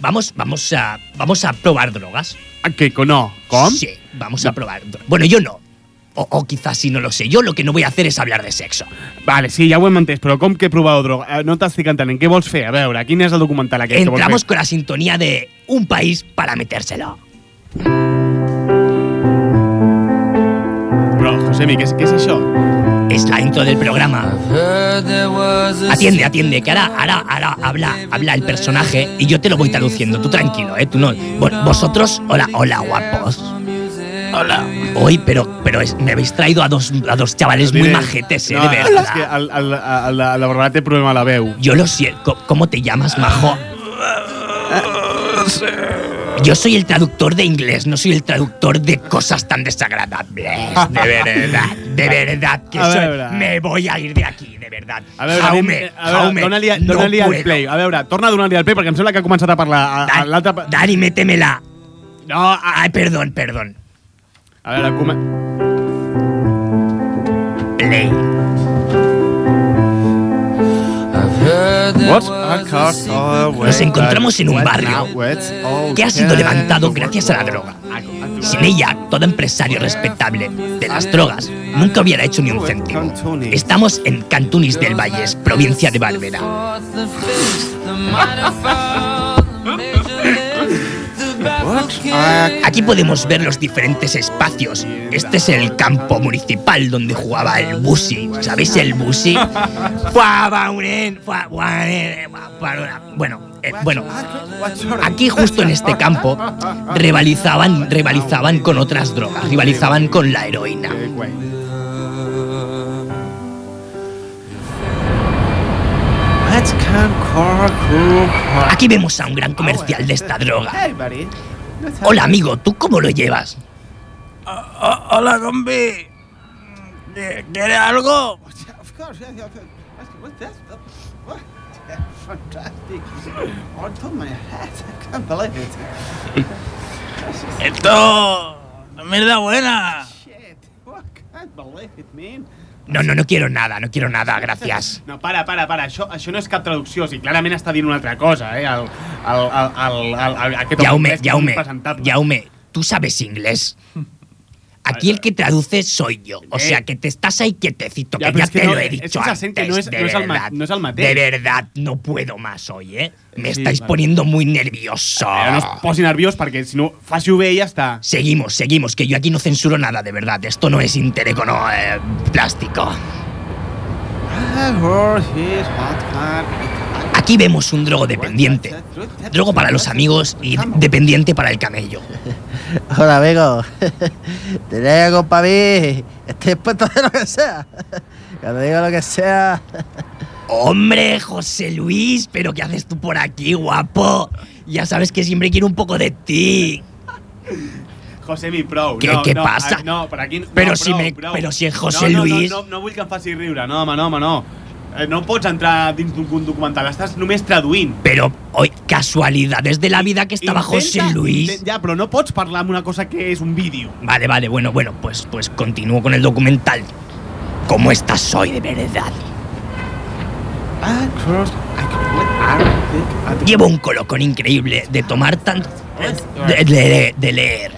Speaker 9: vamos, vamos a, vamos a probar drogas.
Speaker 1: Ah, Que no, com?
Speaker 9: Sí, vamos a probar. dro- Bueno, yo no. O, o quizás sí, no lo sé. Yo lo que no voy a hacer es hablar de sexo.
Speaker 1: Vale, sí, ja ho hem entès, però com que he provat droga? Eh, No t'estic entenent, què vols fer? A veure, quin és el documental aquest que vols
Speaker 9: Entramos
Speaker 1: fer?
Speaker 9: con la sintonía de un país para metérselo.
Speaker 1: Però, Josemi, què és, què és això?
Speaker 9: Es la intro del programa. Atiende, atiende, que ahora, ahora, ahora habla, habla el personaje y yo te lo voy traduciendo. Tú tranquilo, ¿eh? Tú no. Vo- Vosotros, hola, hola, guapos. Hola. Hoy, pero, pero es- me habéis traído a dos, a dos chavales muy
Speaker 1: Diré-
Speaker 9: majetes, ¿eh?
Speaker 1: No,
Speaker 9: de
Speaker 1: és
Speaker 9: verdad.
Speaker 1: que el, el, el, la, la Barbara té problema a la veu.
Speaker 9: Yo lo siento. Co- ¿Cómo te
Speaker 1: Ah.
Speaker 9: llamas, majo? Yo soy el traductor de inglés, no soy el traductor de cosas tan desagradables. De verdad, de verdad que
Speaker 1: A
Speaker 9: soy-
Speaker 1: veure.
Speaker 9: me voy a ir de aquí, de verdad.
Speaker 1: A veure,
Speaker 9: Jaume,
Speaker 1: anem- a veure
Speaker 9: Jaume,
Speaker 1: dona-li
Speaker 9: no
Speaker 1: dona el
Speaker 9: puedo.
Speaker 1: play. A veure, torna a donar-li el play perquè em sembla que ha començat a parlar a- a
Speaker 9: Dan-
Speaker 1: l'altre... pa-
Speaker 9: Dani, métemela.
Speaker 1: No, a,
Speaker 9: Ay, perdón, perdón.
Speaker 1: a veure, come...
Speaker 9: Play.
Speaker 1: What a car
Speaker 9: Nos encontramos en un barrio
Speaker 1: oh,
Speaker 9: que ha sido levantado gracias a la droga. Sin ella, todo empresario respetable de las drogas nunca hubiera hecho ni un céntimo. Estamos en Cantunis del Valles, provincia de Barbera. Aquí podemos ver los diferentes espacios. Este es el campo municipal donde jugaba el Busi. ¿Sabéis el Busi? Fua, Bauren, fua,
Speaker 2: eh,
Speaker 9: Bauren, fua, Bauren. Bueno, eh, bueno, aquí justo en este campo rivalizaban, rivalizaban con otras drogas, rivalizaban con la heroína. Aquí vemos a un gran comercial de esta droga. Hola amigo, ¿tú cómo lo llevas?
Speaker 11: Hola, compi. ¿Quieres algo? Esto. Mierda buena.
Speaker 9: No, no, no quiero nada, no quiero nada, gracias.
Speaker 1: No, para, para, para, això, això no és cap traducció, o sigui, clarament està dient una altra cosa, eh? El, el, el, el, el, el aquest home
Speaker 9: Jaume,
Speaker 1: anglès que és
Speaker 9: Jaume,
Speaker 1: impresentable.
Speaker 9: Jaume, ¿tú sabes inglés? Aquí el que traduce soy yo. O sea, que te estás ahí quietecito,
Speaker 1: Eh.
Speaker 9: que ya
Speaker 1: Ya, pero es que
Speaker 9: te
Speaker 1: no,
Speaker 9: lo he
Speaker 1: es que
Speaker 9: dicho
Speaker 1: se
Speaker 9: antes.
Speaker 1: siente, no es-
Speaker 9: de
Speaker 1: no es al ma-
Speaker 9: verdad.
Speaker 1: no es al mateix.
Speaker 9: De verdad, no puedo más hoy, ¿eh? Me
Speaker 1: Sí,
Speaker 9: estáis
Speaker 1: vale.
Speaker 9: poniendo muy nervioso.
Speaker 1: Però no es posi nerviós perquè, si no, faci-ho bé i ja està.
Speaker 9: Seguimos, seguimos, que yo aquí no censuro nada, de verdad. Esto no es interécono eh, plástico. Aquí vemos un drogo dependiente. Drogo para los amigos y dependiente para el camello.
Speaker 12: Hola, amigo. ¿Tenéis algo para mí? Estoy dispuesto a hacer lo que sea. Cuando digo lo que sea.
Speaker 9: Hombre, José Luis, pero ¿qué haces tú por aquí, guapo? Ya sabes que siempre quiero un poco de ti.
Speaker 1: Josemi, prou.
Speaker 9: Què-
Speaker 1: no,
Speaker 9: què
Speaker 1: no,
Speaker 9: passa?
Speaker 1: a- No, per aquí... No,
Speaker 9: Però
Speaker 1: prou,
Speaker 9: si me-
Speaker 1: prou.
Speaker 9: però si és José
Speaker 1: no, no,
Speaker 9: Luis-
Speaker 1: No, no, no, vull que em faci riure, no, home, no, home, no. Eh, No pots entrar dins d'un documental, estàs només traduint.
Speaker 9: Pero hoy, casualidades de la vida que estaba José
Speaker 1: Intenta-
Speaker 9: Luis.
Speaker 1: Ja, però no pots parlar amb una cosa que és un vídeo.
Speaker 9: Vale, vale, bueno, bueno, pues, pues continúo con el documental. ¿Cómo estás hoy de verdad? Llevo un colocón increíble de tomar tan... de, de- de leer.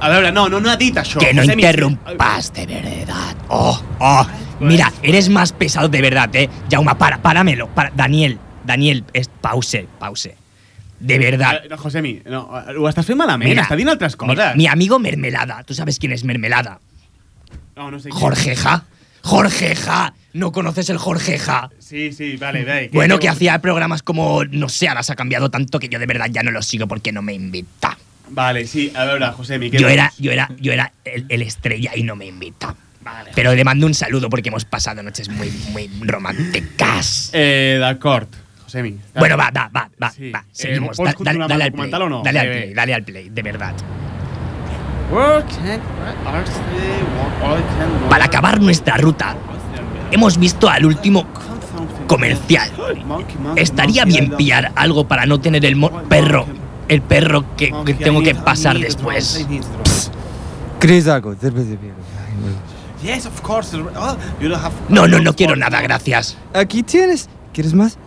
Speaker 1: A veure, no, no, no ha dit això.
Speaker 9: Que no
Speaker 1: Josemi,
Speaker 9: interrumpas, de verdad. Oh, oh. Mira,
Speaker 1: Pues-
Speaker 9: eres más pesado de verdad, eh. Jauma, para, páramelo. para- Daniel, Daniel, es, pause, pause. De verdad.
Speaker 1: Eh, No, Josemi, no, eh, ho estàs fent malament,
Speaker 9: Mira,
Speaker 1: està dient altres
Speaker 9: Mi,
Speaker 1: coses.
Speaker 9: mi amigo Mermelada, ¿tú sabes quién es Mermelada?
Speaker 1: no, no sé
Speaker 9: Jorge Ja. Jorge Ja. ¿No conoces el Jorgeja?
Speaker 1: Sí, sí, vale, dai.
Speaker 9: Bueno, que hacía programas como, no sé, ahora se ha cambiado tanto que yo de verdad ya no lo sigo porque no me invita.
Speaker 1: Vale, sí, a ver, José, mi
Speaker 9: Yo era, yo era, yo era el, el estrella y no me invita. Pero le mando un saludo porque hemos pasado noches muy, muy románticas.
Speaker 1: Eh, d'acord, Josemi.
Speaker 9: Bueno, va, va, va, va. va. Seguimos.
Speaker 1: ¿Pots
Speaker 9: Da- dale,
Speaker 1: continuar amb
Speaker 9: dale al
Speaker 1: el
Speaker 9: play.
Speaker 1: documental o no?
Speaker 9: Dale al
Speaker 1: Bé, bé.
Speaker 9: play, dale al play, de verdad. Para acabar nuestra ruta, hemos visto al último comercial. Estaría bien pillar algo para no tener el mo- perro, el perro que, que tengo que pasar después.
Speaker 10: Chris Daco.
Speaker 1: Yes, of course. Oh, you don't have...
Speaker 9: No, no, no quiero nada, gracias.
Speaker 10: Aquí tienes. ¿Quieres más?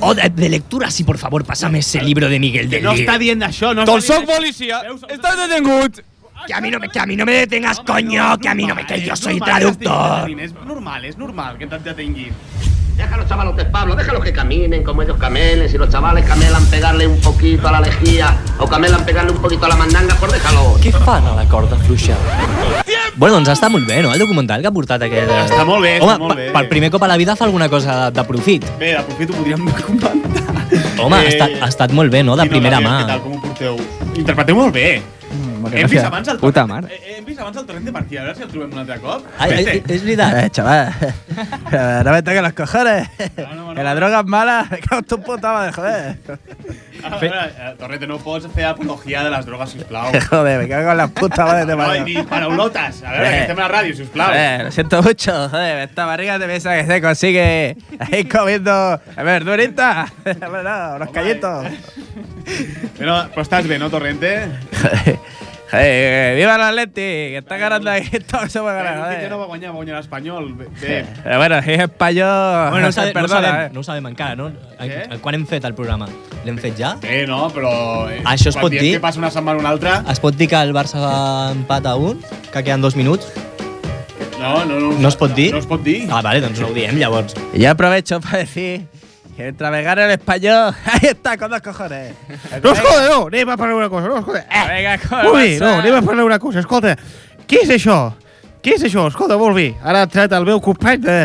Speaker 9: Oh, de, de lectura, sí, por favor, pásame ese libro de Miguel
Speaker 1: Que
Speaker 9: del
Speaker 1: no
Speaker 9: Río.
Speaker 1: està dient això, no
Speaker 9: Doncs
Speaker 1: està
Speaker 9: sóc
Speaker 1: dient
Speaker 10: Policía, estás detengut.
Speaker 9: Que a mí no me, que a mí no me detengas, coño, que a mí no me, que yo soy
Speaker 1: normal,
Speaker 9: traductor.
Speaker 1: És normal, és normal que t'atenguin.
Speaker 13: Déjalos chavalotes, Pablo, déjalos que caminen como ellos camelen. Si los chavales camelan pegarle un poquito a la lejía o camelan pegarle un poquito a la mandanga, pues déjalos.
Speaker 2: Què fan a la corda fluixa? Bueno, doncs està molt bé, no?, el documental que ha portat aquest... eh?
Speaker 1: Està molt bé, està
Speaker 2: Home,
Speaker 1: molt
Speaker 2: pe-
Speaker 1: bé.
Speaker 2: per primer cop a la vida fa alguna cosa de profit.
Speaker 1: Bé, d'aprofit ho podríem comentar.
Speaker 2: Home,
Speaker 1: Eh,
Speaker 2: ha, estat, ha estat molt bé, no?, de
Speaker 1: Quina
Speaker 2: primera
Speaker 1: hòstia,
Speaker 2: mà.
Speaker 1: Què tal, com ho porteu? Interpreteu molt bé.
Speaker 12: Mm,
Speaker 1: Hem vist abans el...
Speaker 10: Puta mare.
Speaker 1: Eh, Hem vist abans el torrent de partida, a veure si el trobem un altre cop.
Speaker 2: Ai, ai,
Speaker 1: Vete.
Speaker 2: és veritat.
Speaker 12: Eh, chaval. Eh, no me toques los cojones. Que la droga es mala. Me cago en tu puta madre, joder.
Speaker 1: A veure, eh, Torrente, no pots fer apologia de les drogues, sisplau.
Speaker 12: Joder, me cago en la puta madre de
Speaker 1: No, i
Speaker 12: madre.
Speaker 1: ni paraulotes. A veure,
Speaker 12: Eh.
Speaker 1: que estem a la ràdio, sisplau.
Speaker 12: Eh, lo siento mucho, joder, esta barriga te piensa que se consigue ahí comiendo a ver, durita, a ver, no, unos callitos.
Speaker 1: Però,
Speaker 6: Pues
Speaker 1: però estàs bé, no, Torrente?
Speaker 12: Joder, Eh, viva el Atleti, que está ganando ahí, todo se va a ganar,
Speaker 1: Eh,
Speaker 12: joder.
Speaker 1: no va guanyar, va guanyar l'Espanyol. Bé, bé.
Speaker 12: Pero bueno, si es español,
Speaker 2: Bueno, no, ho sabe, no, ho
Speaker 12: perdona,
Speaker 2: sabem,
Speaker 12: eh.
Speaker 2: no ho sabem encara, no? Què? Quan hem fet el programa? L'hem fet ja?
Speaker 1: Eh?
Speaker 2: Ah,
Speaker 1: Sí, no, però... eh,
Speaker 2: Això es
Speaker 1: quan
Speaker 2: pot
Speaker 1: diem
Speaker 2: dir?
Speaker 1: Que passa una setmana o una altra...
Speaker 2: Es pot dir que el Barça empata un? Que queden dos minuts?
Speaker 1: No, no, no.
Speaker 2: No es pot dir?
Speaker 1: No es pot dir.
Speaker 2: Ah, vale, doncs no ho diem, llavors.
Speaker 12: Y yo aprovecho para decir que mientras me gane el español, ahí está, con dos cojones. Ah,
Speaker 14: No us jode, no, anem a parlar una cosa, no us jode. Eh.
Speaker 12: Vinga,
Speaker 14: Ui, no, anem a parlar una cosa, escolta, què és això? Què és això? Escolta, molt bé, ara ha entrat el meu company de...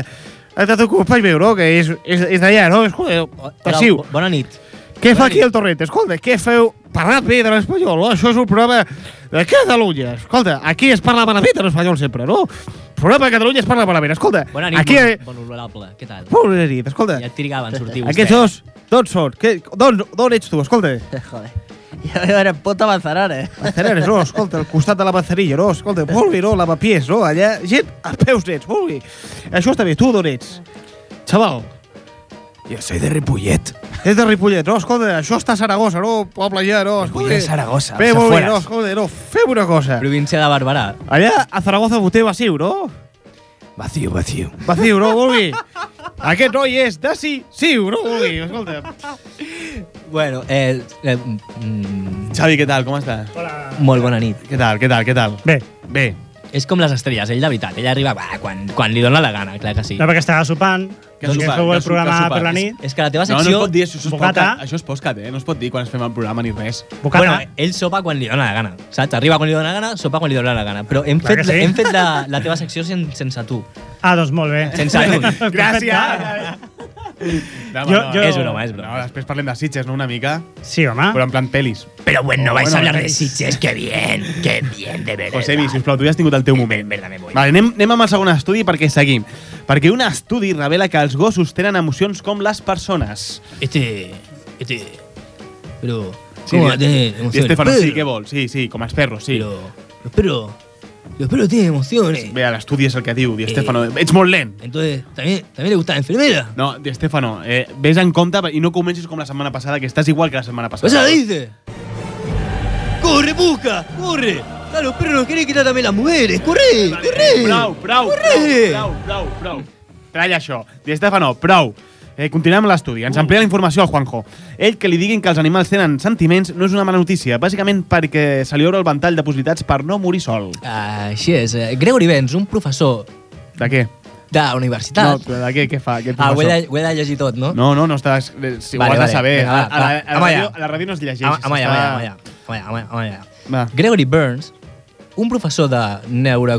Speaker 14: Ha entrat un company meu, no?, que és, és, és d'allà, no? Escolta, passiu.
Speaker 2: bo- Bona nit.
Speaker 14: Què fa aquí el Torrent? Escolta, què feu? Parlat bé de l'espanyol, no? Això és un programa de Catalunya. Escolta, aquí es parla malament de l'espanyol sempre, no? El programa de Catalunya es parla malament. Escolta,
Speaker 2: Bona nit,
Speaker 14: aquí...
Speaker 2: bon, bon honorable. Què tal?
Speaker 14: Bona nit, escolta.
Speaker 2: Ja et trigaven a sortir vostè.
Speaker 14: Aquests dos, d'on són? Què- D'on d'on ets tu? Escolta.
Speaker 12: Joder. Yo vivo en el puto
Speaker 2: eh?
Speaker 12: Manzanares.
Speaker 14: Manzanares, no, escolta, al costat de la Manzanilla, no, escolta, molt bé, no, lavapiés, no, allà, gent, a peus nets, molt bé. Això està bé, tu d'on ets? Xaval.
Speaker 12: Yo soy de Ripollet.
Speaker 14: És de Ripollet, no, escolta, això està a Saragossa, no, poble allà, no, escolta.
Speaker 12: Ripollet, Saragossa,
Speaker 14: Bé,
Speaker 12: les
Speaker 14: molt bé,
Speaker 12: afueres.
Speaker 14: no, escolta, no, fem una cosa.
Speaker 2: Província de Barberà.
Speaker 14: Allà, a Zaragoza, voteu vacío, no?
Speaker 12: Vacío, vacío.
Speaker 14: Vacío, no, molt bé. Aquest noi és de sí, sí, no, molt bé, escolta.
Speaker 2: Bueno, eh... eh mm,
Speaker 1: Xavi, què tal? Com estàs?
Speaker 2: Molt bona nit.
Speaker 1: Què tal, què tal, què tal?
Speaker 15: Bé.
Speaker 1: Bé.
Speaker 2: És com les estrelles, ell de veritat. Ell arriba bah, quan, quan li dona la gana, clar que sí.
Speaker 15: No, perquè estava sopant,
Speaker 1: Que
Speaker 15: doncs que
Speaker 1: sopar,
Speaker 15: feu
Speaker 1: que
Speaker 15: el
Speaker 1: sopar,
Speaker 15: programa
Speaker 1: que sopar.
Speaker 15: per la
Speaker 1: És-
Speaker 15: nit.
Speaker 2: És que la teva
Speaker 1: No, no
Speaker 2: secció...
Speaker 1: es pot dir, això, això, és
Speaker 15: Bocata.
Speaker 1: podcast, això és postcat, eh? No es pot dir quan es fem el programa ni res.
Speaker 2: Bueno, ell sopa quan li dona la gana, saps? Arriba quan li dona la gana, sopa quan li dona la gana. Però hem
Speaker 15: Clar
Speaker 2: fet,
Speaker 15: que sí.
Speaker 2: hem fet la, la teva secció sen, sense tu.
Speaker 15: Ah, doncs molt bé.
Speaker 2: Sense ànim.
Speaker 1: Gràcies. No,
Speaker 15: Jo- jo- És
Speaker 2: broma, és broma.
Speaker 1: No, després parlem de Sitges, no, una mica?
Speaker 15: Sí, home.
Speaker 1: Però en plan pelis.
Speaker 2: Pero bueno,
Speaker 1: Oh,
Speaker 2: vais
Speaker 1: bueno,
Speaker 2: a hablar de
Speaker 1: pelis.
Speaker 2: Sitges, qué bien, qué bien, de verdad. Em,
Speaker 1: Josemi, sisplau, tu ja has tingut el teu moment.
Speaker 2: Verdad, me voy.
Speaker 1: Vale, anem, anem amb el segon estudi perquè seguim. Perquè un estudi revela que els gossos tenen emocions com les persones.
Speaker 2: Este... Este... Pero...
Speaker 1: Sí,
Speaker 2: ¿Cómo va
Speaker 1: di-
Speaker 2: a tener
Speaker 1: di
Speaker 2: emociones?
Speaker 1: Estefano, sí,
Speaker 2: Pedro,
Speaker 1: què vols? Sí, sí, com els perros, sí. Però...
Speaker 2: Los perros... Los perros tienen emociones.
Speaker 1: Bé, l'estudi és el que diu, Di Estefano. Ets molt lent.
Speaker 2: Entonces, ¿también, también le gusta la enfermera?
Speaker 1: No, Di Estefano, eh, ves en compte i no comencis com la setmana passada, que estàs igual que la setmana
Speaker 2: O
Speaker 1: passada.
Speaker 2: sea, dice. ¡Corre, busca! ¡Corre! A los perros nos quieren quitar también las mujeres. ¡Corre! ¡Corre!
Speaker 1: Prou, prou,
Speaker 2: Corre!
Speaker 1: prou, prou, prou, prou. Tralla això. Di Estefano, prou. Eh, continuem amb l'estudi.
Speaker 2: Uh.
Speaker 1: Ens amplia la informació al Juanjo. Ell que li diguin que els animals tenen sentiments no és una mala notícia, bàsicament perquè se li obre el ventall de possibilitats per no morir sol.
Speaker 2: Així és. Eh, Gregory Benz, un professor
Speaker 1: De què?
Speaker 2: de la
Speaker 1: No,
Speaker 2: universitat.
Speaker 1: però de què, què fa? Què
Speaker 2: ah, ho he,
Speaker 1: professor?
Speaker 2: de, ho he de llegir tot, no?
Speaker 1: No, no, no estàs... Si ho
Speaker 2: Vale,
Speaker 1: has
Speaker 2: vale.
Speaker 1: de saber.
Speaker 2: Vinga,
Speaker 1: a,
Speaker 2: va,
Speaker 1: a, la-
Speaker 2: va.
Speaker 1: a, la
Speaker 2: Vamos allá.
Speaker 1: ràdio, a la ràdio no es llegeix.
Speaker 2: Ama- Amaya,
Speaker 1: s'està-
Speaker 2: amaya, amaya, amaya, amaya, amaya. Gregory Burns un professor de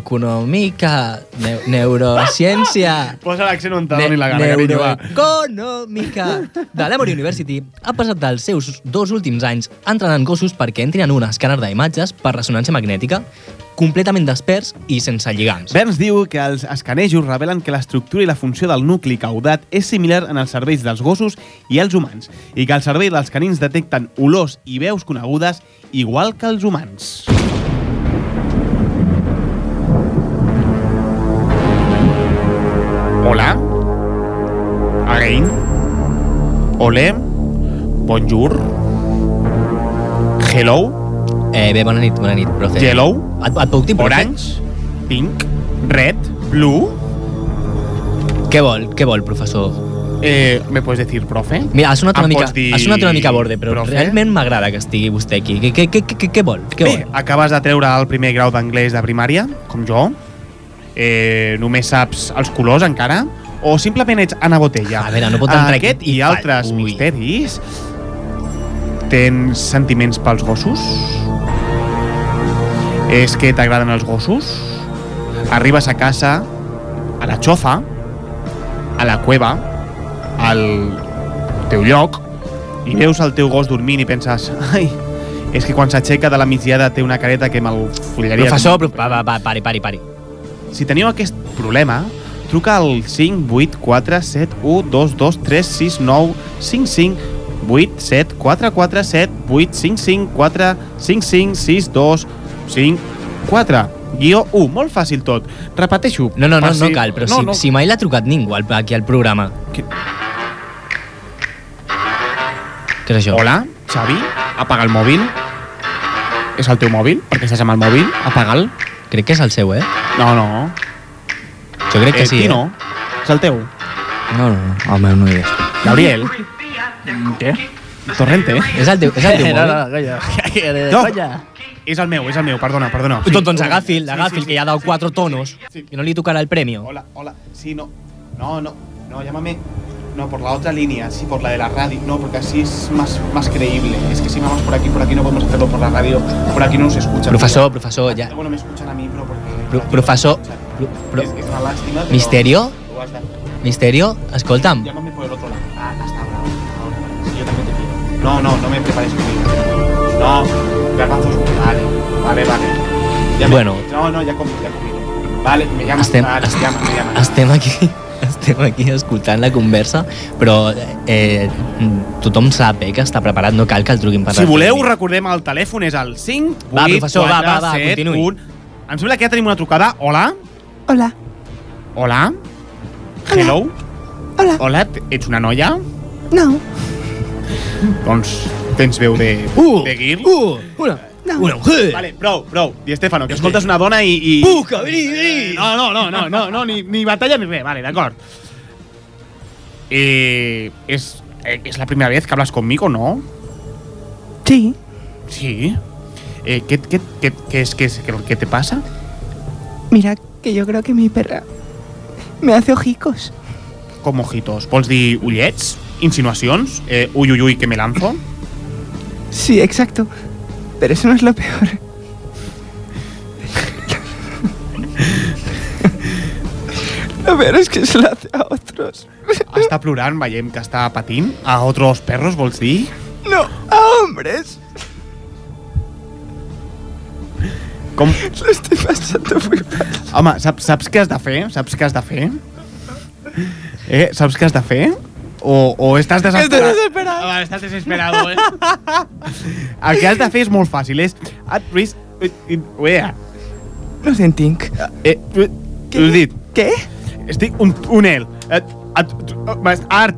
Speaker 2: neuroeconòmica, neu neurociència...
Speaker 6: Posa l'accent on te doni la gana, carinyo, va.
Speaker 2: Neuroeconòmica de l'Emory University ha passat dels seus dos últims anys entrenant gossos perquè entrin en un escàner d'imatges per ressonància magnètica completament desperts i sense lligams.
Speaker 6: Burns diu que els escanejos revelen que l'estructura i la funció del nucli caudat és similar en els cervells dels gossos i els humans, i que el cervell dels canins detecten olors i veus conegudes igual que els humans.
Speaker 1: Hola. Again. Ole. Bonjour. Hello.
Speaker 2: Eh, bé, bona nit, bona nit, profe.
Speaker 1: Yellow.
Speaker 2: Et, et puc dir, profe?
Speaker 1: Orange. Pink. Red. Blue.
Speaker 2: Què vol, què vol, professor?
Speaker 1: Eh, ¿Me puedes decir, profe?
Speaker 2: Mira, ha sonat
Speaker 1: Em
Speaker 2: una mica,
Speaker 1: pots dir,
Speaker 2: ha sonat una mica borde, però
Speaker 1: profe?
Speaker 2: realment m'agrada que estigui vostè aquí. Què, què, què, què, què vol? Què
Speaker 1: Bé,
Speaker 2: vol?
Speaker 1: acabes de treure el primer grau d'anglès de primària, com jo. Eh, només saps els colors encara? O simplement ets Anna Botella? A
Speaker 2: veure, no pot entrar
Speaker 1: Aquest
Speaker 2: aquest
Speaker 1: i altres misteris. Tens sentiments pels gossos? És que t'agraden els gossos? Arribes a casa, a la xofa, a la cueva, al teu lloc, i veus el teu gos dormint i penses ai, és que quan s'aixeca de la migdiada té una careta que me'l follaria.
Speaker 2: Professor, prof... va, va, va, pari, pari, pari.
Speaker 1: Si teniu aquest problema, truca al 5 8 4 7 1 2 2 3 6 9 5 5 8 7 4 4 7 8 5 5 4 5 5 6 2 5 4 guió 1. Molt fàcil tot. Repeteixo.
Speaker 2: No, no, no, no cal, però no, si, no. si mai l'ha trucat ningú al- aquí al programa.
Speaker 1: Que...
Speaker 2: Què és això?
Speaker 1: Hola, Xavi, apaga el mòbil. És el teu mòbil? Perquè estàs amb el mòbil? Apaga'l.
Speaker 2: Crec que és el seu, eh?
Speaker 1: No, no.
Speaker 2: Jo crec que
Speaker 1: Eh,
Speaker 2: sí,
Speaker 1: Tino, és el teu.
Speaker 2: No, no, no, el meu no hi és.
Speaker 1: Gabriel. Mm, Què? Torrente.
Speaker 2: És el teu, és el teu
Speaker 1: No,
Speaker 2: mòbil?
Speaker 1: no,
Speaker 12: coño.
Speaker 2: de
Speaker 1: No.
Speaker 2: conya.
Speaker 1: És el meu, és el meu, perdona, perdona.
Speaker 2: Doncs, doncs agafi'l, agafi'l, que ja ha dado quatre tonos i no li tocarà el premi.
Speaker 1: Hola, hola, sí, no. No, no, no, llámame. No, por la otra línea, sí, por la de la radio. No, porque así es más, más creíble. Es que si vamos por aquí, por aquí no podemos hacerlo por la radio. Por aquí no nos escuchan.
Speaker 2: Professor, professor, ja...
Speaker 1: Bueno, me escuchan a mí, pero porque...
Speaker 2: Pro, professor... Pro, pro,
Speaker 1: Es, es una lástima, pero...
Speaker 2: misterio?
Speaker 1: Lo has dado.
Speaker 2: Misterio? Escolta'm.
Speaker 1: Llámame por el otro lado. Ah, hasta ahora. ahora. Sí, yo también te quiero. No, no, no me prepares conmigo. No, garbanzos. Vale, vale, vale. Ya me-
Speaker 2: Bueno.
Speaker 1: No, no, ya comí, ya comí. Vale, me llamas.
Speaker 2: Estem-
Speaker 1: vale,
Speaker 2: estem-
Speaker 1: llama, me llama.
Speaker 2: Estem aquí, estem aquí escoltant la conversa, però eh, tothom sap eh, que està preparat, no cal que el truquin per
Speaker 6: Si
Speaker 2: la
Speaker 6: voleu,
Speaker 2: tele.
Speaker 6: recordem el telèfon, és el 5, 8,
Speaker 2: Va, professor, va,
Speaker 6: 4,
Speaker 2: va, va,
Speaker 6: 7,
Speaker 2: continuï.
Speaker 6: 1. Em sembla que ja tenim una trucada. Hola?
Speaker 3: Hola.
Speaker 1: Hola? Hello? Hola. Hola, t- ets una noia?
Speaker 3: No,
Speaker 1: Doncs tens veu de...
Speaker 2: Uh,
Speaker 1: de girl?
Speaker 2: Uh, una,
Speaker 3: no.
Speaker 2: una mujer.
Speaker 1: Vale, prou, prou. Di Estefano, que escoltes una dona Eh, i... i...
Speaker 2: Puca, vení, vení!
Speaker 6: No, no, no, no, no, no ni, ni batalla ni res. Vale, d'acord.
Speaker 1: Eh, es, eh, es la primera vez que hablas conmigo, ¿no?
Speaker 3: Sí.
Speaker 1: Sí. Eh, ¿qué, qué, qué, qué es, qué, es, qué, qué te pasa?
Speaker 3: mira que yo creo que mi perra me hace ojicos.
Speaker 1: Com ojitos. Vols dir ullets? Insinuacions? Eh, uy, uy, uy, que me lanzo?
Speaker 3: Sí, exacto. Pero eso no es lo peor. Lo peor es que se lo hace a otros.
Speaker 1: Està plorant, veiem que està patint. A otros perros, vols dir?
Speaker 3: No, a hombres.
Speaker 1: Com...
Speaker 3: Lo estoy pasando muy mal.
Speaker 1: Home, saps, saps què has de fer? Saps què has de fer? Eh, saps què has de fer? O, o estàs
Speaker 6: Estoy
Speaker 1: desesperat?
Speaker 6: desesperado. Vale, estás desesperado, eh.
Speaker 1: El que has de fer és molt fàcil, és at risk... Uea.
Speaker 3: No sé, Tink.
Speaker 1: Eh, eh, t'ho he dit.
Speaker 3: Què?
Speaker 1: Estic un, un Eh, el. Et, et, et, oh, art.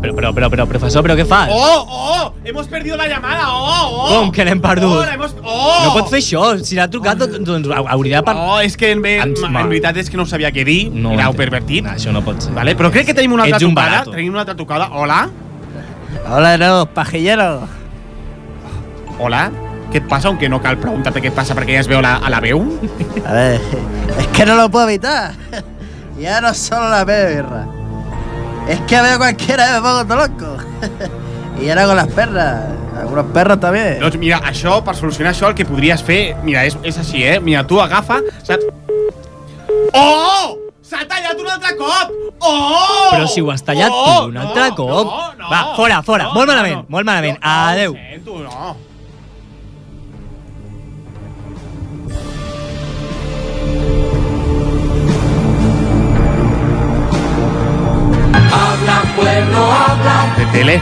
Speaker 2: Però, però, però, però, professor, però què fas?
Speaker 6: ¡Oh, oh! Hemos perdido la llamada. ¡Oh, oh!
Speaker 2: Com que l'hem perdut?
Speaker 6: Oh, la hemos... ¡Oh!
Speaker 2: No pot fer això, si l'ha trucat, doncs- doncs hauria de parlar.
Speaker 6: Oh, és que en, ve, en, veritat és que no sabia què dir, no, era pervertit.
Speaker 2: Això no pot ser.
Speaker 6: Vale, però crec que tenim una altra
Speaker 12: Ets un
Speaker 6: trucada.
Speaker 12: barato.
Speaker 6: Tenim una altra trucada. Hola?
Speaker 12: Hola, no, pajillero.
Speaker 1: Hola? Què et passa? Aunque no cal preguntar-te què et passa perquè ja es veu la, a la veu.
Speaker 12: A ver, es que no lo puedo evitar. Ya no solo la veo, birra. Es que veo cualquiera y me pongo todo loco. y ahora con las perras. Algunos perros també.
Speaker 1: Doncs mira, això, per solucionar això, el que podries fer... Mira, és, és així, eh? Mira, tu agafa, saps? Oh! S'ha tallat un altre cop! Oh!
Speaker 2: Però si ho has tallat tu un altre cop... Va, fora, fora, molt malament, molt malament. Adeu.
Speaker 1: Sento, no.
Speaker 2: De
Speaker 1: tele.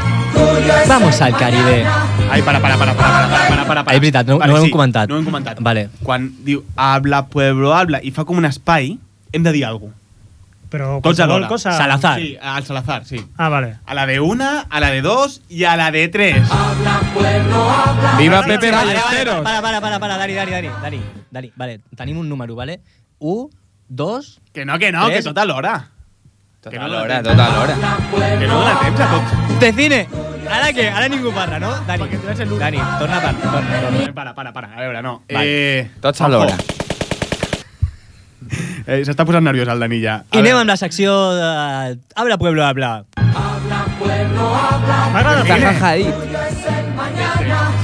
Speaker 2: Vamos al Caribe.
Speaker 1: Ai, para, para, para, para, para, para, para, para.
Speaker 2: És veritat, no,
Speaker 1: Vale,
Speaker 2: no ho
Speaker 1: sí,
Speaker 2: hem comentat.
Speaker 1: No ho hem comentat.
Speaker 2: Vale.
Speaker 1: Quan diu habla, pueblo, habla, i fa com un espai, hem de dir alguna cosa.
Speaker 15: Però
Speaker 1: Tots
Speaker 15: qualsevol
Speaker 1: alhora.
Speaker 15: cosa...
Speaker 1: Sí, al Salazar, sí.
Speaker 15: Ah, vale.
Speaker 1: A la de una, a la de dos y a la de tres.
Speaker 6: Viva
Speaker 2: Vale,
Speaker 6: Pepe
Speaker 2: vale,
Speaker 6: Ballesteros.
Speaker 2: Para, para, para, para, Dani, Dani, Dani, Dani, Dani, vale, tenim un número, vale? 1, 2...
Speaker 1: Que no, que no, que tot alhora.
Speaker 2: Tot
Speaker 10: alhora, tot alhora.
Speaker 1: Que no dona temps a tots.
Speaker 2: De cine! Ara què? Ara ningú parla, no? Dani, Dani, torna a parlar, torna, torna.
Speaker 1: Para, para, para, a veure, no.
Speaker 2: Vale.
Speaker 1: Eh,
Speaker 10: Tots alhora.
Speaker 1: Eh, S'està posant nerviós el Dani ja.
Speaker 2: I anem amb la secció de... Habla, pueblo, habla.
Speaker 15: M'agrada
Speaker 10: Jajaja, ahí.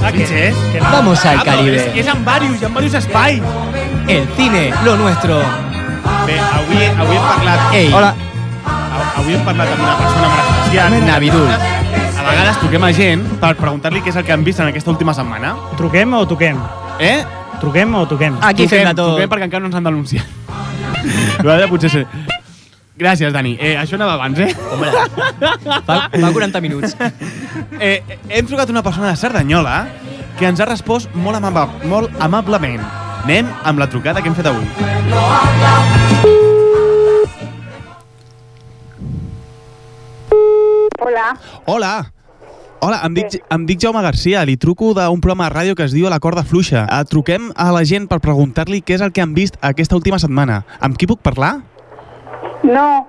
Speaker 1: Ah, que, que no.
Speaker 2: Vamos al
Speaker 1: Ah, però
Speaker 2: Caribe.
Speaker 1: És, és en varios, hi ha varios espais.
Speaker 2: El cine, lo nuestro.
Speaker 1: Bé, avui, avui hem parlat...
Speaker 2: Ei.
Speaker 1: Hola. Avui hem parlat amb una persona molt especial.
Speaker 2: Navidul.
Speaker 1: A vegades truquem a gent per preguntar-li què és el que han vist en aquesta última setmana.
Speaker 15: Truquem o toquem?
Speaker 1: Eh?
Speaker 15: Truquem o toquem?
Speaker 1: truquem, Truquem perquè encara no ens han denunciat. Nosaltres potser ser... Gràcies, Dani. Eh, això anava abans, eh?
Speaker 2: Home, fa, fa 40 minuts.
Speaker 1: Eh, eh, hem trucat una persona de Cerdanyola que ens ha respost molt, amaba, molt amablement. Anem amb la trucada que hem fet avui.
Speaker 16: Hola,
Speaker 1: Hola. Hola, em dic, em dic Jaume Garcia, li truco d'un programa de ràdio que es diu La Corda Fluixa. Eh, truquem a la gent per preguntar-li què és el que han vist aquesta última setmana. Amb qui puc parlar?
Speaker 16: no,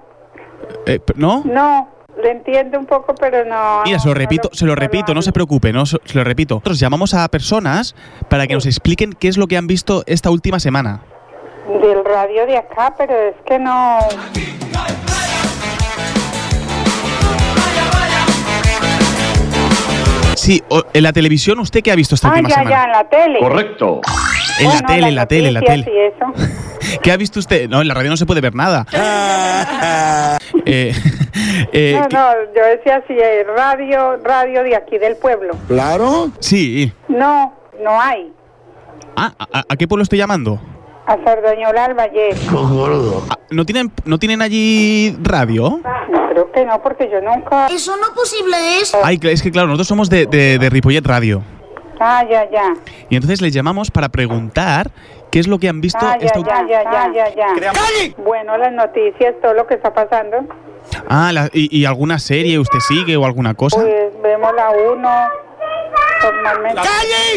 Speaker 1: Eh, p- no?
Speaker 16: no, le entiendo un poco, pero no.
Speaker 1: Mira, se lo repito, se lo repito, no se preocupe, no se se lo repito. Nosotros llamamos a personas para que nos expliquen qué es lo que han visto esta última semana.
Speaker 16: Del radio de acá, pero es que no.
Speaker 1: Sí, o- en la televisión, ¿usted qué ha visto esta
Speaker 16: ah,
Speaker 1: última
Speaker 16: ya,
Speaker 1: semana?
Speaker 16: ya, en la tele.
Speaker 1: Correcto. En la
Speaker 16: Ah, no,
Speaker 1: tele, en la tele, en la
Speaker 16: noticias
Speaker 1: tele.
Speaker 16: y eso.
Speaker 1: ¿Qué ha visto usted? No, en la radio no se puede ver nada. Eh, eh,
Speaker 16: no, no, yo decía así, eh, radio, radio de aquí del pueblo.
Speaker 1: ¿Claro? Sí.
Speaker 16: No, no hay.
Speaker 1: Ah, ¿a, a qué pueblo estoy llamando?
Speaker 16: A Sardañola al Valle.
Speaker 1: Ah, ¿No tienen, ¿No tienen allí radio?
Speaker 16: No, creo que no, porque yo nunca. Eso no posible es.
Speaker 1: Ay, cl- es que claro, nosotros somos de, de, de Ripollet Radio.
Speaker 16: Ah, ya, ya.
Speaker 1: Y entonces les llamamos para preguntar qué es lo que han visto
Speaker 16: Ah, ya,
Speaker 1: esta última...
Speaker 16: ya, ya, ya, ya, ya. Bueno, las noticias, todo lo que está pasando.
Speaker 1: Ah, la- y, y alguna serie usted sigue o alguna cosa?
Speaker 16: Pues vemos la 1, normalmente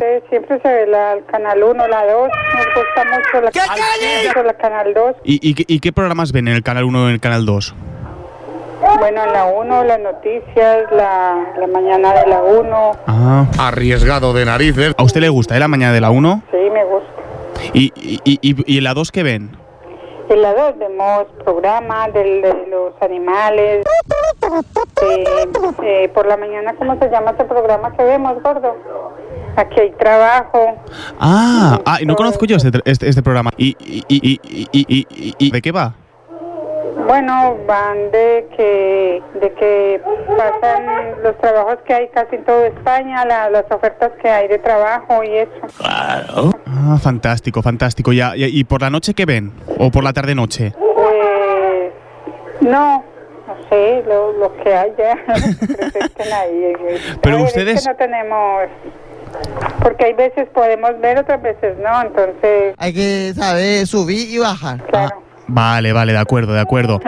Speaker 16: eh, siempre se ve la, el canal 1, la 2, nos gusta mucho la, mucho la canal 2,
Speaker 1: ¿Y, y qué- y qué programas ven en el canal 1 o en el canal 2?
Speaker 16: bueno, en la 1, las noticias, la, la mañana de la 1,
Speaker 1: Ah. Arriesgado de narices. ¿A usted le gusta, eh, la mañana de la 1?
Speaker 16: sí, me gusta.
Speaker 1: ¿Y, y, y, y- y en la 2 qué ven?
Speaker 16: En la 2 vemos programas del- de los animales, eh, eh, por la mañana, ¿cómo se llama ese programa que vemos, gordo? Aquí hay trabajo.
Speaker 1: Ah, ah, no conozco yo este, este, este programa. ¿Y, y, y, y, y- y- y- y- de qué va?
Speaker 16: Bueno, van de que, de que pasan los trabajos que hay casi en toda España, la- las ofertas que hay de trabajo y eso.
Speaker 1: Ah, fantástico, fantástico. Ya, ya- ¿Y por la noche qué ven? ¿O por la tarde-noche?
Speaker 16: Pues, no, no sé, lo, lo que hay ya. presentan ahí. eh,
Speaker 1: Pero
Speaker 16: Ay, es
Speaker 1: ustedes-
Speaker 16: que no tenemos... Porque hay veces podemos ver, otras veces no, entonces...
Speaker 12: Hay que saber subir y bajar.
Speaker 1: Vale, vale, de acuerdo, de acuerdo.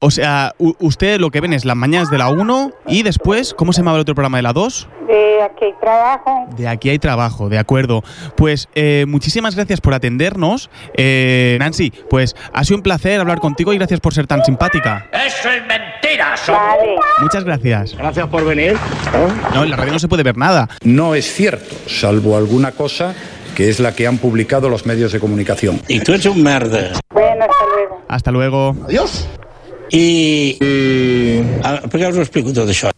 Speaker 1: o sea, u- usted lo que ven es las mañanas de la 1 y después, ¿cómo se llama el otro programa de la 2?
Speaker 16: De aquí hay trabajo.
Speaker 1: De aquí hay trabajo, de acuerdo. Pues eh, muchísimas gracias por atendernos. Eh, Nancy, pues ha sido un placer hablar contigo y gracias por ser tan simpática.
Speaker 7: Eso es mentira,
Speaker 16: Vale.
Speaker 1: Muchas gracias.
Speaker 7: Gracias por venir.
Speaker 1: No, en la radio no se puede ver nada.
Speaker 17: No es cierto, salvo alguna cosa que es la que han publicado los medios de comunicación. Y tú eres un merda.
Speaker 16: Bueno, hasta luego.
Speaker 1: Hasta luego.
Speaker 17: Adiós. I... I... Ah, per què us ho explico tot això?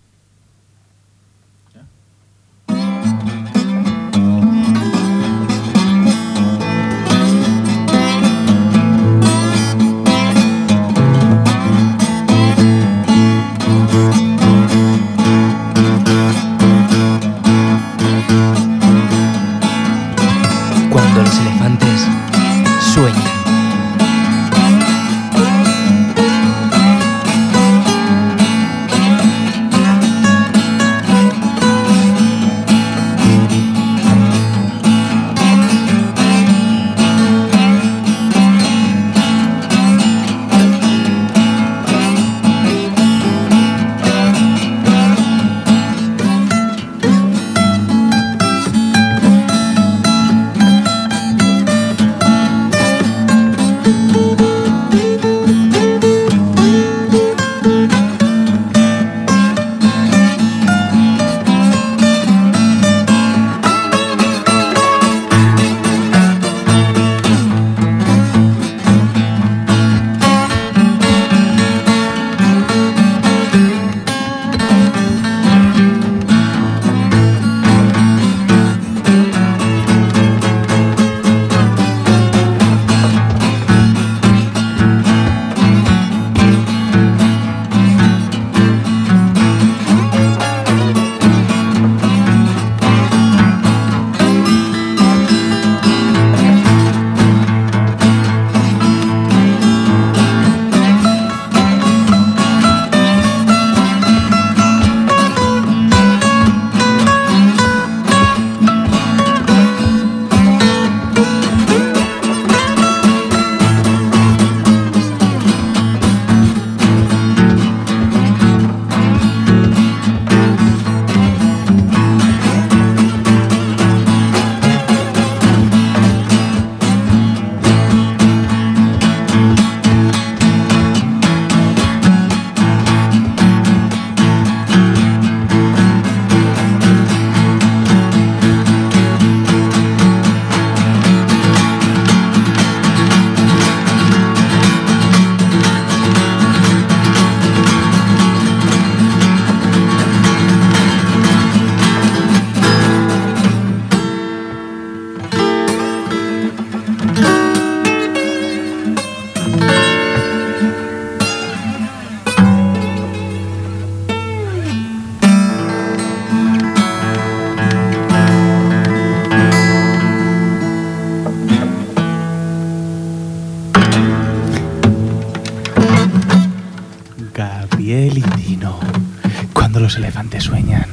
Speaker 1: Cuando los elefantes sueñan.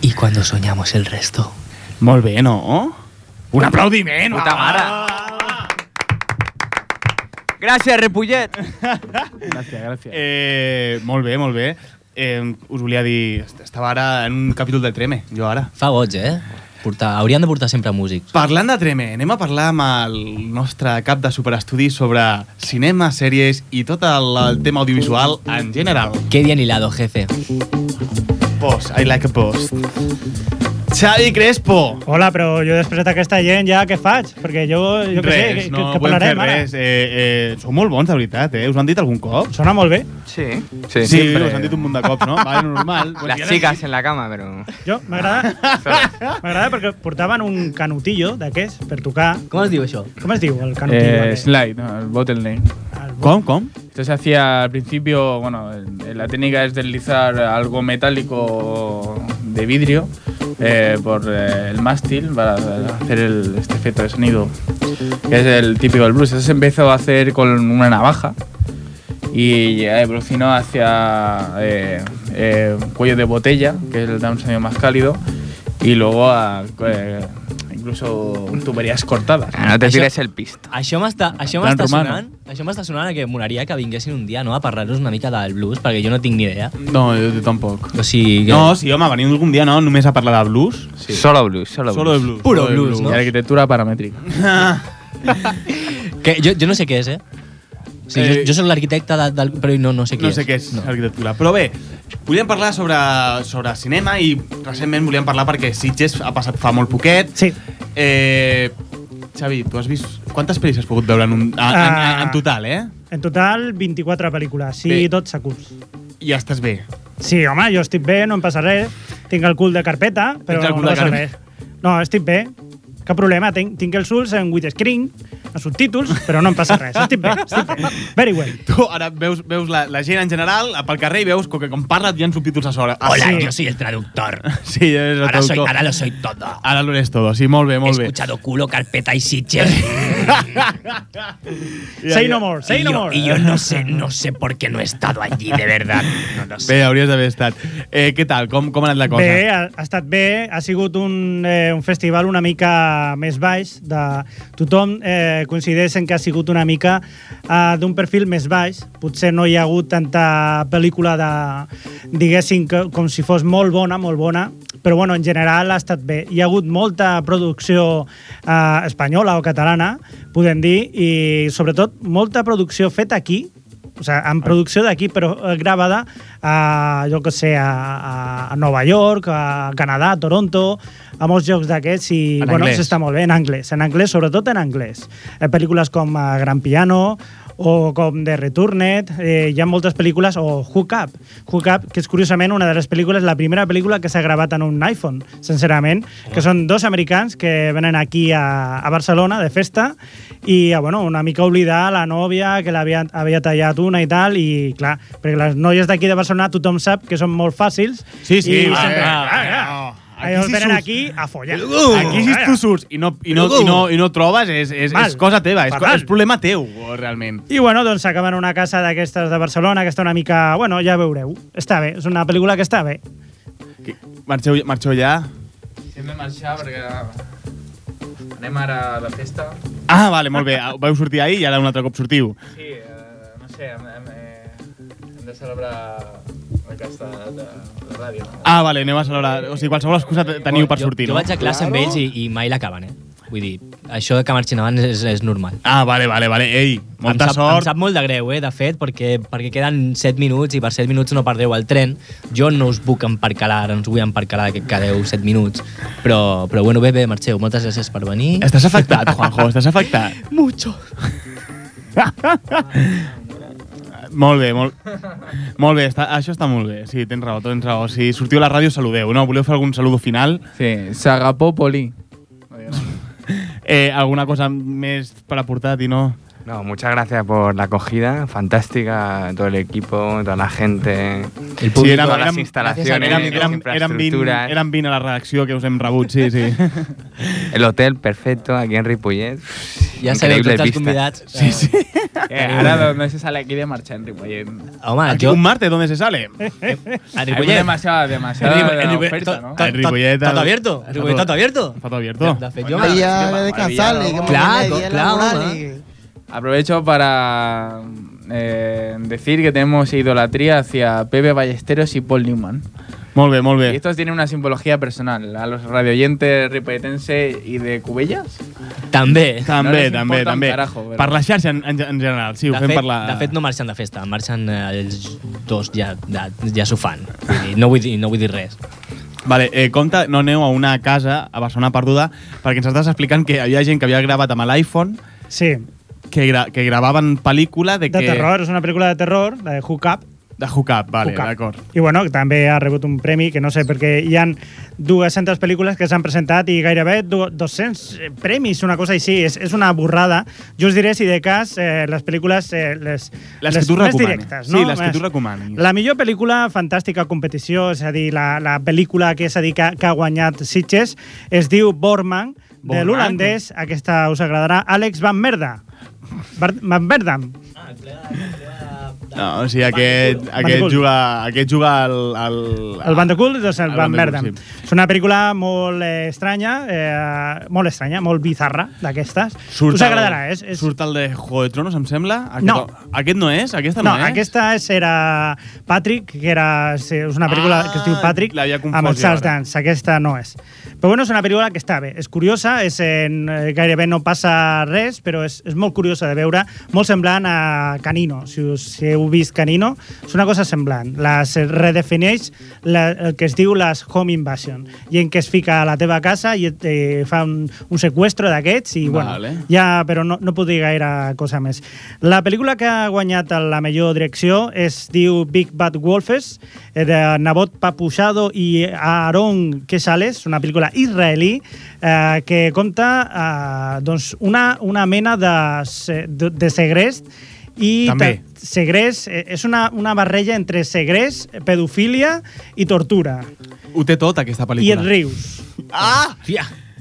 Speaker 2: Y cuando soñamos el resto.
Speaker 1: Molt bé, no? Un Ah. aplaudiment!
Speaker 10: Puta mare. Gràcies, Repullet.
Speaker 1: Gràcies, gràcies. Eh, molt bé, molt bé. Eh, us volia dir... est- Estava ara en un capítol de Treme, jo ara.
Speaker 2: Fa goig, eh? Portar, haurien de portar sempre músics.
Speaker 1: Parlant de Treme, anem a parlar amb el nostre cap de superestudi sobre cinema, sèries i tot el, el tema audiovisual en general.
Speaker 2: Qué bien hilado, jefe.
Speaker 1: Post, I like a post. Xavi Crespo.
Speaker 15: Hola, però jo després d'aquesta gent ja què faig? Perquè jo, jo què sé, que,
Speaker 1: no
Speaker 15: que
Speaker 1: podem fer
Speaker 15: parlarem ara.
Speaker 1: res. Eh, eh, sou molt bons, de veritat, eh? Us ho han dit algun cop?
Speaker 15: Sona molt bé.
Speaker 10: Sí.
Speaker 1: Sí, sí us han dit un munt de cops, no? Vale, normal. Pues
Speaker 10: Las chicas en la cama, però...
Speaker 15: Jo, m'agrada. m'agrada perquè portaven un canutillo d'aquests per tocar.
Speaker 2: Com es diu això?
Speaker 15: Com es diu el canutillo?
Speaker 6: Eh,
Speaker 15: aquest?
Speaker 6: slide, no, el bottleneck.
Speaker 1: ¿Cómo? ¿Cómo?
Speaker 6: Esto se hacía al principio, bueno, eh, la técnica es deslizar algo metálico de vidrio eh, por eh, el mástil para hacer el, este efecto de sonido, que es el típico del blues. Eso se empezó a hacer con una navaja y ya evolucionó hacia eh, eh, cuello de botella, que es el- da un sonido más cálido, y luego a, eh, incluso tuberías cortadas.
Speaker 10: Ah, No te tires el pisto.
Speaker 2: Això m'està això
Speaker 6: Plan
Speaker 2: m'està
Speaker 6: romano.
Speaker 2: sonant, això m'està sonant a que molaria que vinguessin un dia no, a parlar-nos una mica del blues, perquè jo no tinc ni idea.
Speaker 1: No, eh. jo, jo tampoc.
Speaker 2: O sigui que...
Speaker 1: No, sí, home, venim algun dia no, només a parlar de blues.
Speaker 10: Sí. Solo blues, solo,
Speaker 1: Solo de blues.
Speaker 2: Puro blues, no?
Speaker 6: Y arquitectura paramétrica.
Speaker 2: Que jo, jo no sé què és, eh? O sigui,
Speaker 1: Eh,
Speaker 2: jo, jo soc l'arquitecte de- del... Però no, no sé què
Speaker 1: No sé què és arquitectura. Però bé, volíem parlar sobre, sobre cinema i recentment volíem parlar perquè Sitges ha passat fa molt poquet.
Speaker 15: Sí.
Speaker 1: Eh, Xavi, tu has vist... Quantes pel·lis has pogut veure en, un, en, en, en,
Speaker 15: Ah.
Speaker 1: en total, eh?
Speaker 15: En total, 24 pel·lícules. Sí,
Speaker 1: Bé.
Speaker 15: tot s'acurs.
Speaker 1: I ja estàs bé.
Speaker 15: Sí, home, jo estic bé, no em passa res. Tinc el cul de carpeta, però
Speaker 1: Tens el
Speaker 15: no
Speaker 1: cul
Speaker 15: em
Speaker 1: de
Speaker 15: passa
Speaker 1: carpeta.
Speaker 15: res. No, estic bé. Cap problema, tinc, tinc els ulls en widescreen, a subtítols, però no em passa res. Estic bé, estic bé. Very well.
Speaker 1: Tu ara veus, veus la, la gent en general pel carrer i veus que com parla hi ha subtítols a sobre. Ah,
Speaker 15: Hola,
Speaker 2: jo soy el traductor.
Speaker 1: Sí, eh. eres el
Speaker 2: Ahora soy-
Speaker 1: traductor.
Speaker 2: ahora lo soy todo.
Speaker 1: Ara lo eres todo, sí, molt bé, molt bé.
Speaker 2: escuchado culo, carpeta y sitches.
Speaker 1: Say no more, say
Speaker 2: Y
Speaker 1: no
Speaker 2: yo-
Speaker 1: more.
Speaker 2: Y yo no sé, no sé por qué no he estado allí, de verdad. No lo sé.
Speaker 1: Bé, hauries d'haver estat. Eh, què tal? Com, com ha anat la cosa?
Speaker 15: Bé, ha, ha estat bé, ha sigut un, eh, un festival una mica més baix. De... Tothom eh, coincideix en que ha sigut una mica eh, d'un perfil més baix. Potser no hi ha hagut tanta pel·lícula de, diguéssim, que, com si fos molt bona, molt bona, però bueno, en general ha estat bé. Hi ha hagut molta producció eh, espanyola o catalana, podem dir, i sobretot molta producció feta aquí, o sigui, en producció d'aquí, però eh, gravada a, jo que sé, a, a, a Nova York, a Canadà, a Toronto, a molts llocs d'aquests i,
Speaker 18: En
Speaker 15: bueno,
Speaker 18: anglès.
Speaker 15: s'està molt bé, en anglès, en anglès, sobretot en anglès. Eh, pel·lícules com eh, Gran Piano, o com The Returned, eh, hi ha moltes pel·lícules, o Hook Up, Hook Up, que és curiosament una de les pel·lícules, la primera pel·lícula que s'ha gravat en un iPhone, sincerament, que són dos americans que venen aquí a, a Barcelona de festa i, eh, bueno, una mica oblidar la nòvia que l'havia havia tallat una i tal, i clar, perquè les noies d'aquí de Barcelona tothom sap que són molt fàcils.
Speaker 1: Sí, sí, eh,
Speaker 15: i
Speaker 1: va,
Speaker 15: sempre,
Speaker 1: va,
Speaker 15: ah,
Speaker 1: va,
Speaker 15: ah, Ells
Speaker 1: si
Speaker 15: venen
Speaker 1: surts- Uh,
Speaker 15: aquí a follar.
Speaker 1: Aquí si tu surts i no, i no, i no, i no trobes, és, és,
Speaker 15: Mal.
Speaker 1: és cosa teva, és, co-
Speaker 15: Fatal.
Speaker 1: és problema teu, realment.
Speaker 15: I bueno, doncs acaben en una casa d'aquestes de Barcelona que està una mica... Bueno, ja veureu. Està bé, és una pel·lícula que està bé.
Speaker 1: Marxeu, marxeu ja?
Speaker 6: Hem de marxar perquè anem ara a la festa.
Speaker 1: Ah, vale, molt bé. Vau sortir ahir i ara un altre cop sortiu.
Speaker 6: Sí, eh, no sé, hem, hem, eh, hem de celebrar aquesta de, de ràdio.
Speaker 1: Ah, vale, aneu a celebrar. O sigui, qualsevol excusa te- teniu per
Speaker 2: Jo-
Speaker 1: sortir,
Speaker 2: jo,
Speaker 1: no?
Speaker 2: vaig a classe amb ells i, i mai l'acaben, eh? Vull dir, això de que marxin abans és, és normal.
Speaker 1: Ah, vale, vale, vale. Ei,
Speaker 2: em
Speaker 1: molta
Speaker 2: sap,
Speaker 1: sort.
Speaker 2: Em sap molt de greu, eh, de fet, perquè, perquè queden 7 minuts i per 7 minuts no perdeu el tren. Jo no us puc emparcalar, ara ens vull emparcalar que quedeu 7 minuts. Però, però bueno, bé, bé, marxeu. Moltes gràcies per venir.
Speaker 1: Estàs afectat, Juanjo, estàs afectat.
Speaker 2: Mucho.
Speaker 1: Molt bé, molt, molt bé. Està, això està molt bé. Sí, tens raó, tens raó. Si sortiu a la ràdio, saludeu, no? Voleu fer algun saludo final?
Speaker 6: Sí, Sagapopoli.
Speaker 1: Eh, alguna cosa més per aportar, Tino?
Speaker 10: No, muchas gracias por la acogida, fantástica, todo el equipo, toda la gente, sí,
Speaker 1: El
Speaker 10: todas las instalaciones,
Speaker 1: Érem, érem,
Speaker 10: las
Speaker 1: érem, 20,
Speaker 10: infraestructuras,
Speaker 1: érem 20 a la redacció que us hem rebut, sí, sí.
Speaker 10: el hotel perfecto aquí en Ripollet.
Speaker 9: Ja sabeu
Speaker 10: Increïbles
Speaker 9: tots els
Speaker 10: vistes.
Speaker 9: convidats.
Speaker 6: Sí, sí. Eh, ara
Speaker 9: Tenim-
Speaker 6: d'on se sale aquí de marxar en Ripollet.
Speaker 9: Home, Aquí jo- un
Speaker 6: martes d'on se sale.
Speaker 9: A
Speaker 6: Hay
Speaker 9: Ripollet.
Speaker 6: demasiada, demasiada
Speaker 9: En Ripo- en Ripo-
Speaker 6: oferta,
Speaker 9: to-
Speaker 6: ¿no?
Speaker 9: to- to- Tot abierto. Ripollet, tot abierto.
Speaker 6: Tot abierto.
Speaker 9: De fet, jo...
Speaker 6: Bueno, Ahí ya
Speaker 9: Maravilla,
Speaker 6: descansarle,
Speaker 9: no?
Speaker 6: que
Speaker 9: Clar,
Speaker 6: me
Speaker 9: co-
Speaker 6: dé
Speaker 9: clar,
Speaker 6: la
Speaker 9: home.
Speaker 6: moral Aprovecho para eh, decir que tenemos idolatría hacia Pepe Ballesteros y Paul Newman.
Speaker 1: Molt bé, molt
Speaker 6: Y
Speaker 1: bé.
Speaker 6: estos tienen una simbología personal. A los radioyentes ripolletense y de Cubellas.
Speaker 9: També.
Speaker 6: No
Speaker 1: També,
Speaker 6: les
Speaker 1: també,
Speaker 6: importa un
Speaker 1: també.
Speaker 6: carajo, però-
Speaker 1: Per la xarxa en, en, en general, sí, ho
Speaker 9: de
Speaker 1: fem
Speaker 9: fet,
Speaker 1: per la...
Speaker 9: de fet, no marxen de festa, marxen eh, els dos ja, ja, ja s'ho fan. Vull dir, no, vull dir, no vull dir res.
Speaker 1: Vale, eh, compte, no aneu a una casa a Barcelona perduda perquè ens estàs explicant que hi havia gent que havia gravat amb l'iPhone
Speaker 15: sí.
Speaker 1: que, gra que gravaven pel·lícula de,
Speaker 15: De
Speaker 1: que...
Speaker 15: terror, és una pel·lícula de terror, la de Hook Up.
Speaker 1: De Hook Up, vale,
Speaker 15: Hook Up.
Speaker 1: d'acord.
Speaker 15: I bueno, també ha rebut un premi, que no sé, perquè hi han 200 pel·lícules que s'han presentat i gairebé du- 200 premis, una cosa així. És, és una borrada. Jo us diré si de cas eh, les pel·lícules... Eh, les,
Speaker 1: Les, que tu
Speaker 15: més
Speaker 1: recomanis.
Speaker 15: directes, no?
Speaker 1: Sí, les que tu
Speaker 15: Més-
Speaker 1: recomanis.
Speaker 15: La millor pel·lícula, fantàstica competició, és a dir, la, la pel·lícula que, és a dir, que, que ha guanyat Sitges, es diu Borman, de
Speaker 1: Borman.
Speaker 15: l'holandès, aquesta us agradarà, Àlex Van Merda. Bar- Van Verdam.
Speaker 1: No, o sigui, aquest, aquest
Speaker 15: Bandicoot.
Speaker 1: juga, aquest juga al... al
Speaker 15: El Bandicoot, doncs el,
Speaker 1: El
Speaker 15: Van
Speaker 1: Bandicoot,
Speaker 15: Verdam. És una pel·lícula molt eh, estranya, eh, molt estranya, molt bizarra, d'aquestes. Us agradarà, eh?
Speaker 1: és, és... Surt el de Juego de Tronos, em sembla? Aquest,
Speaker 15: No.
Speaker 1: Aquest no és? Aquesta
Speaker 15: No,
Speaker 1: no, és?
Speaker 15: aquesta és, era Patrick, que era, sí, és una pel·lícula
Speaker 1: Ah,
Speaker 15: que es diu Patrick,
Speaker 1: l'havia confós
Speaker 15: amb els
Speaker 1: jo
Speaker 15: Charles
Speaker 1: ara.
Speaker 15: Dance. Aquesta no és. Però bueno, és una pel·lícula que està bé. És curiosa, és en, eh, gairebé no passa res, però és, és molt curiosa de veure, molt semblant a Canino. Si, us, si heu vist Canino, és una cosa semblant. Les redefineix la, el que es diu les home invasion, i en què es fica a la teva casa i et, eh, fa un, un seqüestro d'aquests i, bueno,
Speaker 1: Vale.
Speaker 15: ja, però no, no puc dir gaire cosa més. La pel·lícula que ha guanyat la millor direcció es diu Big Bad Wolfes, eh, de Nabot Papuchado i Aaron Quesales, una pel·lícula israelí eh, que compta eh, doncs una, una mena de, se- de, de segrest i
Speaker 1: També.
Speaker 15: ta- segrest, eh, és una, una barreja entre segrest, pedofilia i tortura.
Speaker 1: Ho té tot, aquesta
Speaker 15: I et
Speaker 1: pel·lícula.
Speaker 15: rius.
Speaker 1: Ah!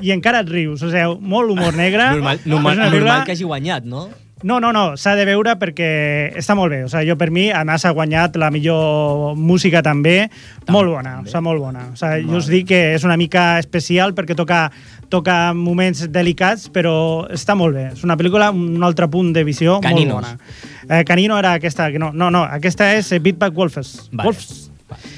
Speaker 15: I encara et rius, o sigui, molt humor negre.
Speaker 9: Normal,
Speaker 1: Ah,
Speaker 9: normal, normal que hagi guanyat, no?
Speaker 15: No, no, no, s'ha de veure perquè està molt bé. O sigui, jo per mi, a més, ha guanyat la millor música també. molt bona, o sigui, molt bona. O sigui, jo us dic que és una mica especial perquè toca, toca moments delicats, però està molt bé. És una pel·lícula, un altre punt de visió
Speaker 9: Caninos.
Speaker 15: molt bona. Eh, Canino era aquesta, que no, no, no, aquesta és eh, Beat Back Wolfes.
Speaker 9: Vale.
Speaker 15: Wolfs.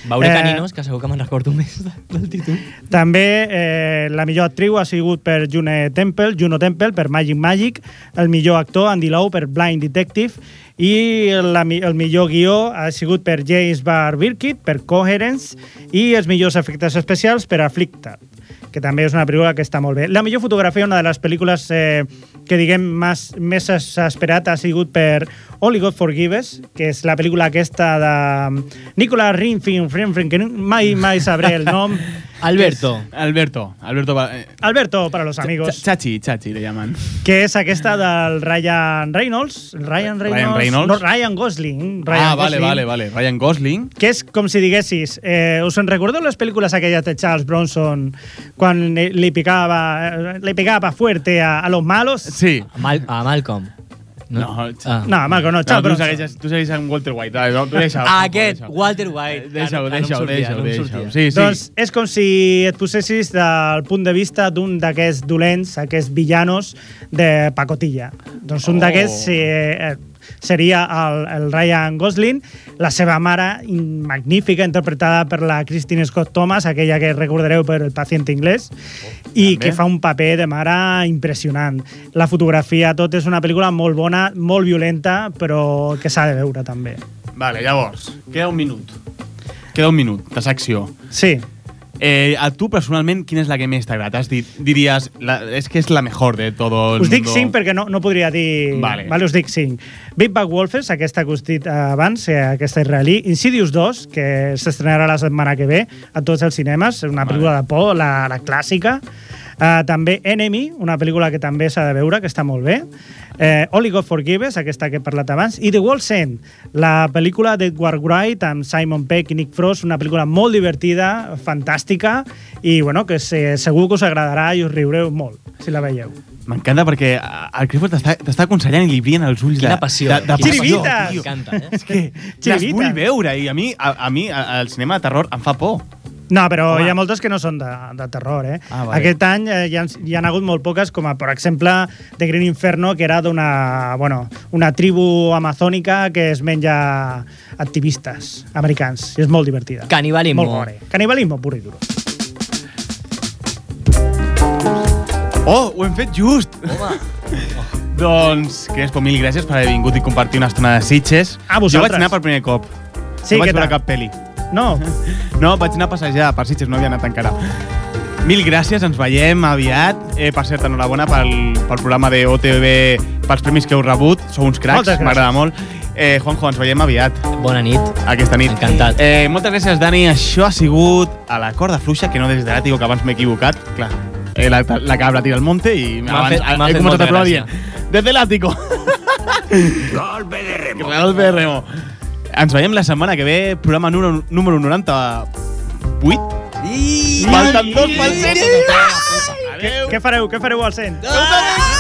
Speaker 9: Veuré
Speaker 15: Eh,
Speaker 9: Caninos, que segur que me'n recordo més de- del títol.
Speaker 15: També eh, la millor actriu ha sigut per June Temple, Juno Temple per Magic Magic, el millor actor Andy Lau per Blind Detective i la, mi- el millor guió ha sigut per James Bar Birkitt per Coherence i els millors efectes especials per Afflicted que també és una pel·lícula que està molt bé. La millor fotografia, una de les pel·lícules eh, que diguem més, més s'ha esperat, ha sigut per Only God Forgives, que és la pel·lícula aquesta de Nicolas Rinfin, Rinfin, que mai, mai sabré el nom.
Speaker 9: Alberto.
Speaker 1: Alberto. Alberto, va- eh,
Speaker 15: Alberto para los amigos.
Speaker 1: Chachi, Chachi, le llaman.
Speaker 15: Que és aquesta del Ryan Reynolds. Ryan Reynolds.
Speaker 1: Reynolds?
Speaker 15: No, Ryan Gosling. Ryan
Speaker 1: ah, vale,
Speaker 15: Gosling.
Speaker 1: vale, vale. Ryan Gosling.
Speaker 15: Que és com si diguessis... Eh, us en recordeu les pel·lícules aquelles de Charles Bronson quan li li picava, eh, li picava fuerte a, a los malos?
Speaker 1: Sí.
Speaker 9: A, Mal a Malcolm. No, ah.
Speaker 15: No, Marco, no, Charles
Speaker 1: tu
Speaker 15: Bronson.
Speaker 1: segueixes, tu segueixes amb Walter White. Dale, no, deixa
Speaker 9: Ah, Aquest, Walter White.
Speaker 1: Deixa-ho,
Speaker 9: Ah, no,
Speaker 1: deixa-ho,
Speaker 9: no em sortia,
Speaker 1: deixa-ho.
Speaker 9: no em
Speaker 1: deixa
Speaker 9: sortia.
Speaker 1: Sí, sí.
Speaker 15: Doncs és com si et posessis del punt de vista d'un d'aquests dolents, aquests villanos de Pacotilla. Doncs un
Speaker 1: Oh.
Speaker 15: d'aquests eh, eh, seria el, el Ryan Gosling, la seva mare, in- magnífica, interpretada per la Christine Scott Thomas, aquella que recordareu per El paciente inglés, i
Speaker 1: també.
Speaker 15: que fa un paper de mare impressionant. La fotografia, tot és una pel·lícula molt bona, molt violenta, però que s'ha de veure també.
Speaker 1: Vale, llavors, queda un minut. Queda un minut de secció.
Speaker 15: Sí.
Speaker 1: Eh, a tu, personalment, quina és la que més t'agrada? T'has dit, diries, la, és que és la mejor de todo el
Speaker 15: Us dic
Speaker 1: mundo.
Speaker 15: 5 perquè no, no podria dir...
Speaker 1: Vale.
Speaker 15: vale us dic 5. Big Bad Wolfes, aquesta que us he dit abans, eh, aquesta israelí. Insidious 2, que s'estrenarà la setmana que ve a tots els cinemes, una pel·lícula de por, la, la clàssica. Uh, també Enemy, una pel·lícula que també s'ha de veure, que està molt bé. Eh, Only God Forgives, aquesta que he parlat abans. I The World's End, la pel·lícula d'Edward Wright amb Simon Peck i Nick Frost, una pel·lícula molt divertida, fantàstica, i bueno, que se, segur que us agradarà i us riureu molt, si la veieu.
Speaker 1: M'encanta perquè eh, el Clifford t'està- t'està aconsellant i li brillen els ulls
Speaker 2: Quina
Speaker 1: de,
Speaker 2: passió, eh?
Speaker 1: de, de
Speaker 2: Quina
Speaker 1: passió,
Speaker 2: passió,
Speaker 1: tio.
Speaker 2: m'encanta, eh?
Speaker 1: És que les
Speaker 15: Chirivitas.
Speaker 1: vull veure i a mi, a, a mi a- el cinema de terror em fa por.
Speaker 15: No, però
Speaker 1: Home.
Speaker 15: hi ha moltes que no són de, de terror, eh?
Speaker 1: Ah, vale.
Speaker 15: Aquest any eh, hi, han, hi han hagut molt poques, com a, per exemple, The Green Inferno, que era d'una bueno, una tribu amazònica que es menja activistes americans. I és molt divertida.
Speaker 2: Canibalismo.
Speaker 15: Molt gore. Canibalismo pur i duro.
Speaker 1: Oh, ho hem fet just! Home. doncs, Crespo, mil gràcies per haver vingut i compartir una estona de Sitges.
Speaker 15: A
Speaker 1: jo
Speaker 15: vosaltres.
Speaker 1: vaig anar per primer cop.
Speaker 15: Sí,
Speaker 1: no vaig
Speaker 15: què
Speaker 1: veure
Speaker 15: tal?
Speaker 1: cap pel·li.
Speaker 15: No?
Speaker 1: No, vaig anar a passejar per Sitges, no havia anat encara. Mil gràcies, ens veiem aviat. Eh, per cert, enhorabona pel, pel programa de OTV, pels premis que heu rebut. Sou uns cracs,
Speaker 15: Moltes gràcies.
Speaker 1: m'agrada molt. Eh, Juanjo, ens veiem aviat.
Speaker 2: Bona nit.
Speaker 1: Aquesta nit. Encantat. Eh, moltes gràcies, Dani. Això ha sigut a la corda fluixa, que no des de l'àtico, que abans m'he equivocat. Clar, eh, la, la cabra tira al monte i
Speaker 19: M'ha
Speaker 1: abans,
Speaker 19: fet- m'ha fet
Speaker 1: he començat
Speaker 19: molta
Speaker 1: a provar
Speaker 19: gràcia.
Speaker 1: dient Desde el ático. Golpe de remo. Golpe de remo. Ens veiem la setmana que ve, programa número, número 98. I... Falten dos pel 100.
Speaker 15: Què, què fareu? Què fareu al 100?